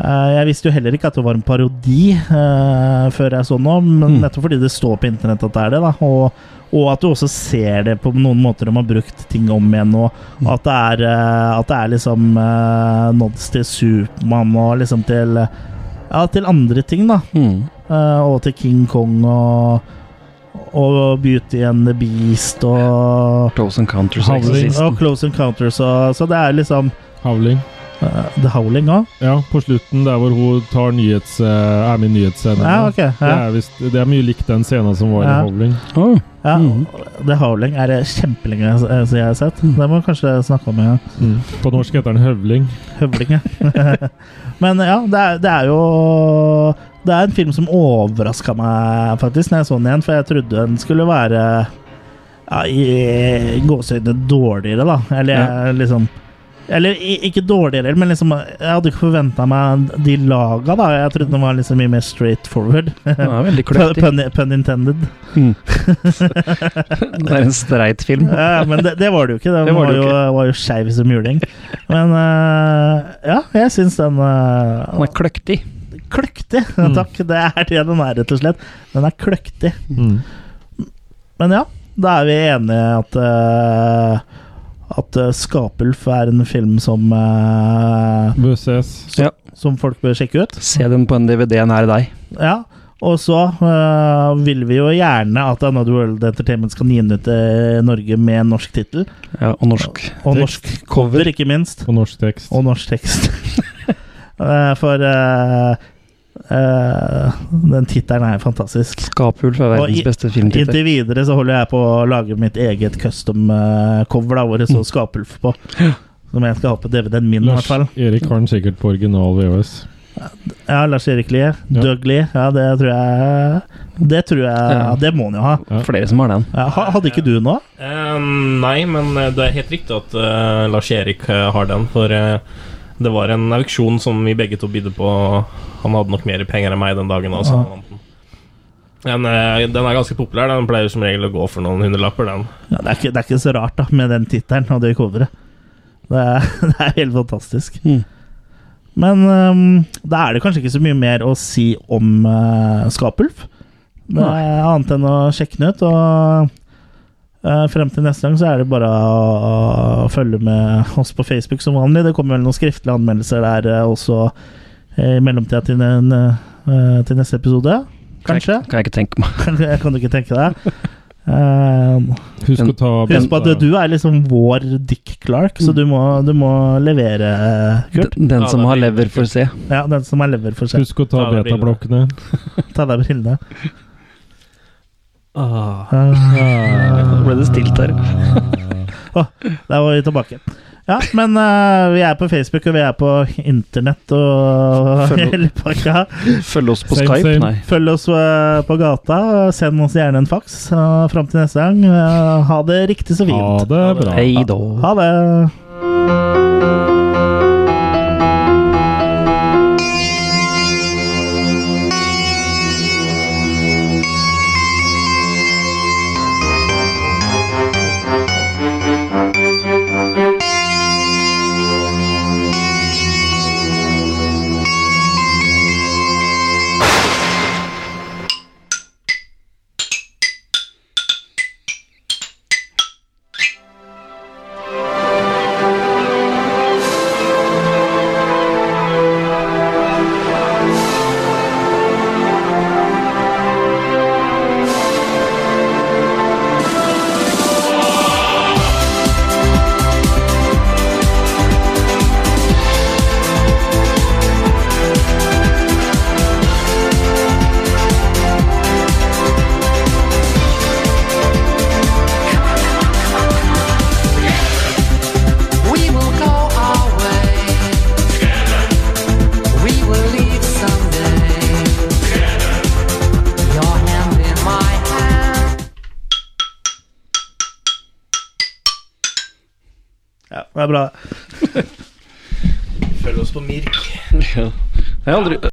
Speaker 1: eh, Jeg visste jo heller ikke at det var en parodi eh, før jeg så den nå, men
Speaker 2: Mm.
Speaker 1: nettopp fordi det står på internett at det er det, da. Og, og at du også ser det på noen måter de har brukt ting om igjen, og at det er, eh, at det er liksom uh, nods til Supermann og liksom til Ja, til andre ting, da.
Speaker 4: Mm.
Speaker 1: Eh, og til King Kong og og Beauty and the Beast og,
Speaker 4: Close Encounters of
Speaker 2: Havling.
Speaker 4: Exorcist.
Speaker 1: og Close Encounters og Så det er liksom
Speaker 2: Havling.
Speaker 1: Eh, The Howling òg?
Speaker 2: Ja, på slutten der hvor hun tar nyhets, eh, er med i nyhetsscenen.
Speaker 1: Ja, ok.
Speaker 2: Det,
Speaker 1: Ja.
Speaker 2: er visst, det er mye likt den scenen som var
Speaker 1: Ja.
Speaker 2: i Havling.
Speaker 4: Åh,
Speaker 1: Ja,
Speaker 4: Mhm.
Speaker 1: The Howling er det kjempelenge s- eh, siden jeg har sett. Det må vi kanskje snakke om en gang.
Speaker 2: Mm. På norsk heter den Høvling.
Speaker 1: Høvling, ja. Men ja, det er, det er jo Det er en film som overraska meg, faktisk, når jeg så den igjen, for jeg trodde den skulle være ja, i gåseøyne dårligere, da. Eller jeg liksom eller i- ikke dårligere, men liksom, jeg hadde ikke forventa meg de laga. da Jeg trodde den var liksom mye mer straight forward.
Speaker 4: Den er veldig
Speaker 1: Pun,
Speaker 4: kløktig.
Speaker 1: pun- pun intended.
Speaker 4: Det er en streit film.
Speaker 1: Ja, men det, det var det jo ikke. Den
Speaker 4: Det var
Speaker 1: var,
Speaker 4: det jo
Speaker 1: jo, var jo skeiv som juling. Men eh, ja, jeg syns den
Speaker 4: Den
Speaker 1: uh,
Speaker 4: er kløktig.
Speaker 1: Kløktig! Takk, det er det den er, rett og slett. Den er kløktig.
Speaker 2: Mm.
Speaker 1: Men ja, da er vi enige at eh, At eh, Skapulf er en film som eh,
Speaker 2: Bør ses.
Speaker 4: Ja.
Speaker 1: Som folk bør sjekke ut.
Speaker 4: Se den på en DVD nær deg.
Speaker 1: Ja, og så eh, vil vi jo gjerne at Another World Entertainment skal gi den ut i Norge med norsk tittel.
Speaker 4: Ja, og norsk.
Speaker 1: Og norsk cover, ikke minst.
Speaker 2: På norsk tekst.
Speaker 1: Og norsk tekst. Eh, For eh, eh, den tittelen er fantastisk.
Speaker 4: Skaphull fra
Speaker 1: Og i-
Speaker 4: verdens beste filmtittel.
Speaker 1: Inntil videre så holder jeg på å lage mitt eget custom-cover, da, hvor det står Skapulf på. Som jeg skal ha på DVD-en min, i hvert fall.
Speaker 2: Erik har den sikkert på original VHS.
Speaker 1: Ja, Lars-Erik Lie.
Speaker 2: Ja.
Speaker 1: Doug Lie. Ja, det tror jeg Det tror jeg
Speaker 4: Ja.
Speaker 1: Det må han jo ha.
Speaker 2: Ja.
Speaker 4: Flere som har den.
Speaker 1: Ja, ha- Hadde ikke du nå?
Speaker 3: Eh, nei, men eh, det er helt riktig at eh, Lars-Erik eh, har den, for eh, det var en auksjon som vi begge to bidde på. og Han hadde nok mer penger enn meg den dagen. Også,
Speaker 1: Ja.
Speaker 3: han vant den. Men, eh, den er ganske populær. Den pleier som regel å gå for noen hundrelapper, den.
Speaker 1: Ja, det, er ikke, det er ikke så rart, da, med den tittelen og det coveret. Det er, det er helt fantastisk.
Speaker 4: Mm.
Speaker 1: Men ehm, da er det kanskje ikke så mye mer å si om eh, Skapulf. Det er annet enn å sjekke den ut. Og eh, frem til neste gang så er det bare å, å følge med oss på Facebook som vanlig. Det kommer vel noen skriftlige anmeldelser der eh, også eh, i mellomtida til, den, eh, til neste episode. Kanskje?
Speaker 4: Kan jeg ikke tenke meg.
Speaker 1: Kan du ikke tenke deg. Eh,
Speaker 2: Husk å ta
Speaker 1: Husk på at du er liksom vår Dick Clark, så du må, du må levere, eh, Kurt.
Speaker 4: Den, den
Speaker 3: Ja,
Speaker 4: som
Speaker 3: da
Speaker 4: har
Speaker 3: blir det
Speaker 4: lever, får se.
Speaker 1: Ja, den som er lever for seg.
Speaker 2: Husk å ta
Speaker 3: Ta deg
Speaker 2: betablokkene.
Speaker 1: Ta deg brillene.
Speaker 3: Ah.
Speaker 4: Da ble det stilt her.
Speaker 1: Der var vi tilbake. Ja, men eh, vi er på Facebook, og vi er på internett og
Speaker 4: Følg-
Speaker 1: hele pakka.
Speaker 4: Følg oss på
Speaker 2: Same,
Speaker 4: Skype.
Speaker 2: same.
Speaker 4: Nei.
Speaker 1: Følg oss eh, på gata, og send oss gjerne en faks. Og fram til neste gang, eh, ha det riktig så
Speaker 2: Ha
Speaker 1: fint.
Speaker 2: det bra.
Speaker 4: Hei da.
Speaker 1: Ha det.
Speaker 8: We will go our way. We will leave someday. Your hand in my hand.
Speaker 1: Ja, det er bra.
Speaker 3: Følg oss på Mirk.
Speaker 4: Jeg har aldri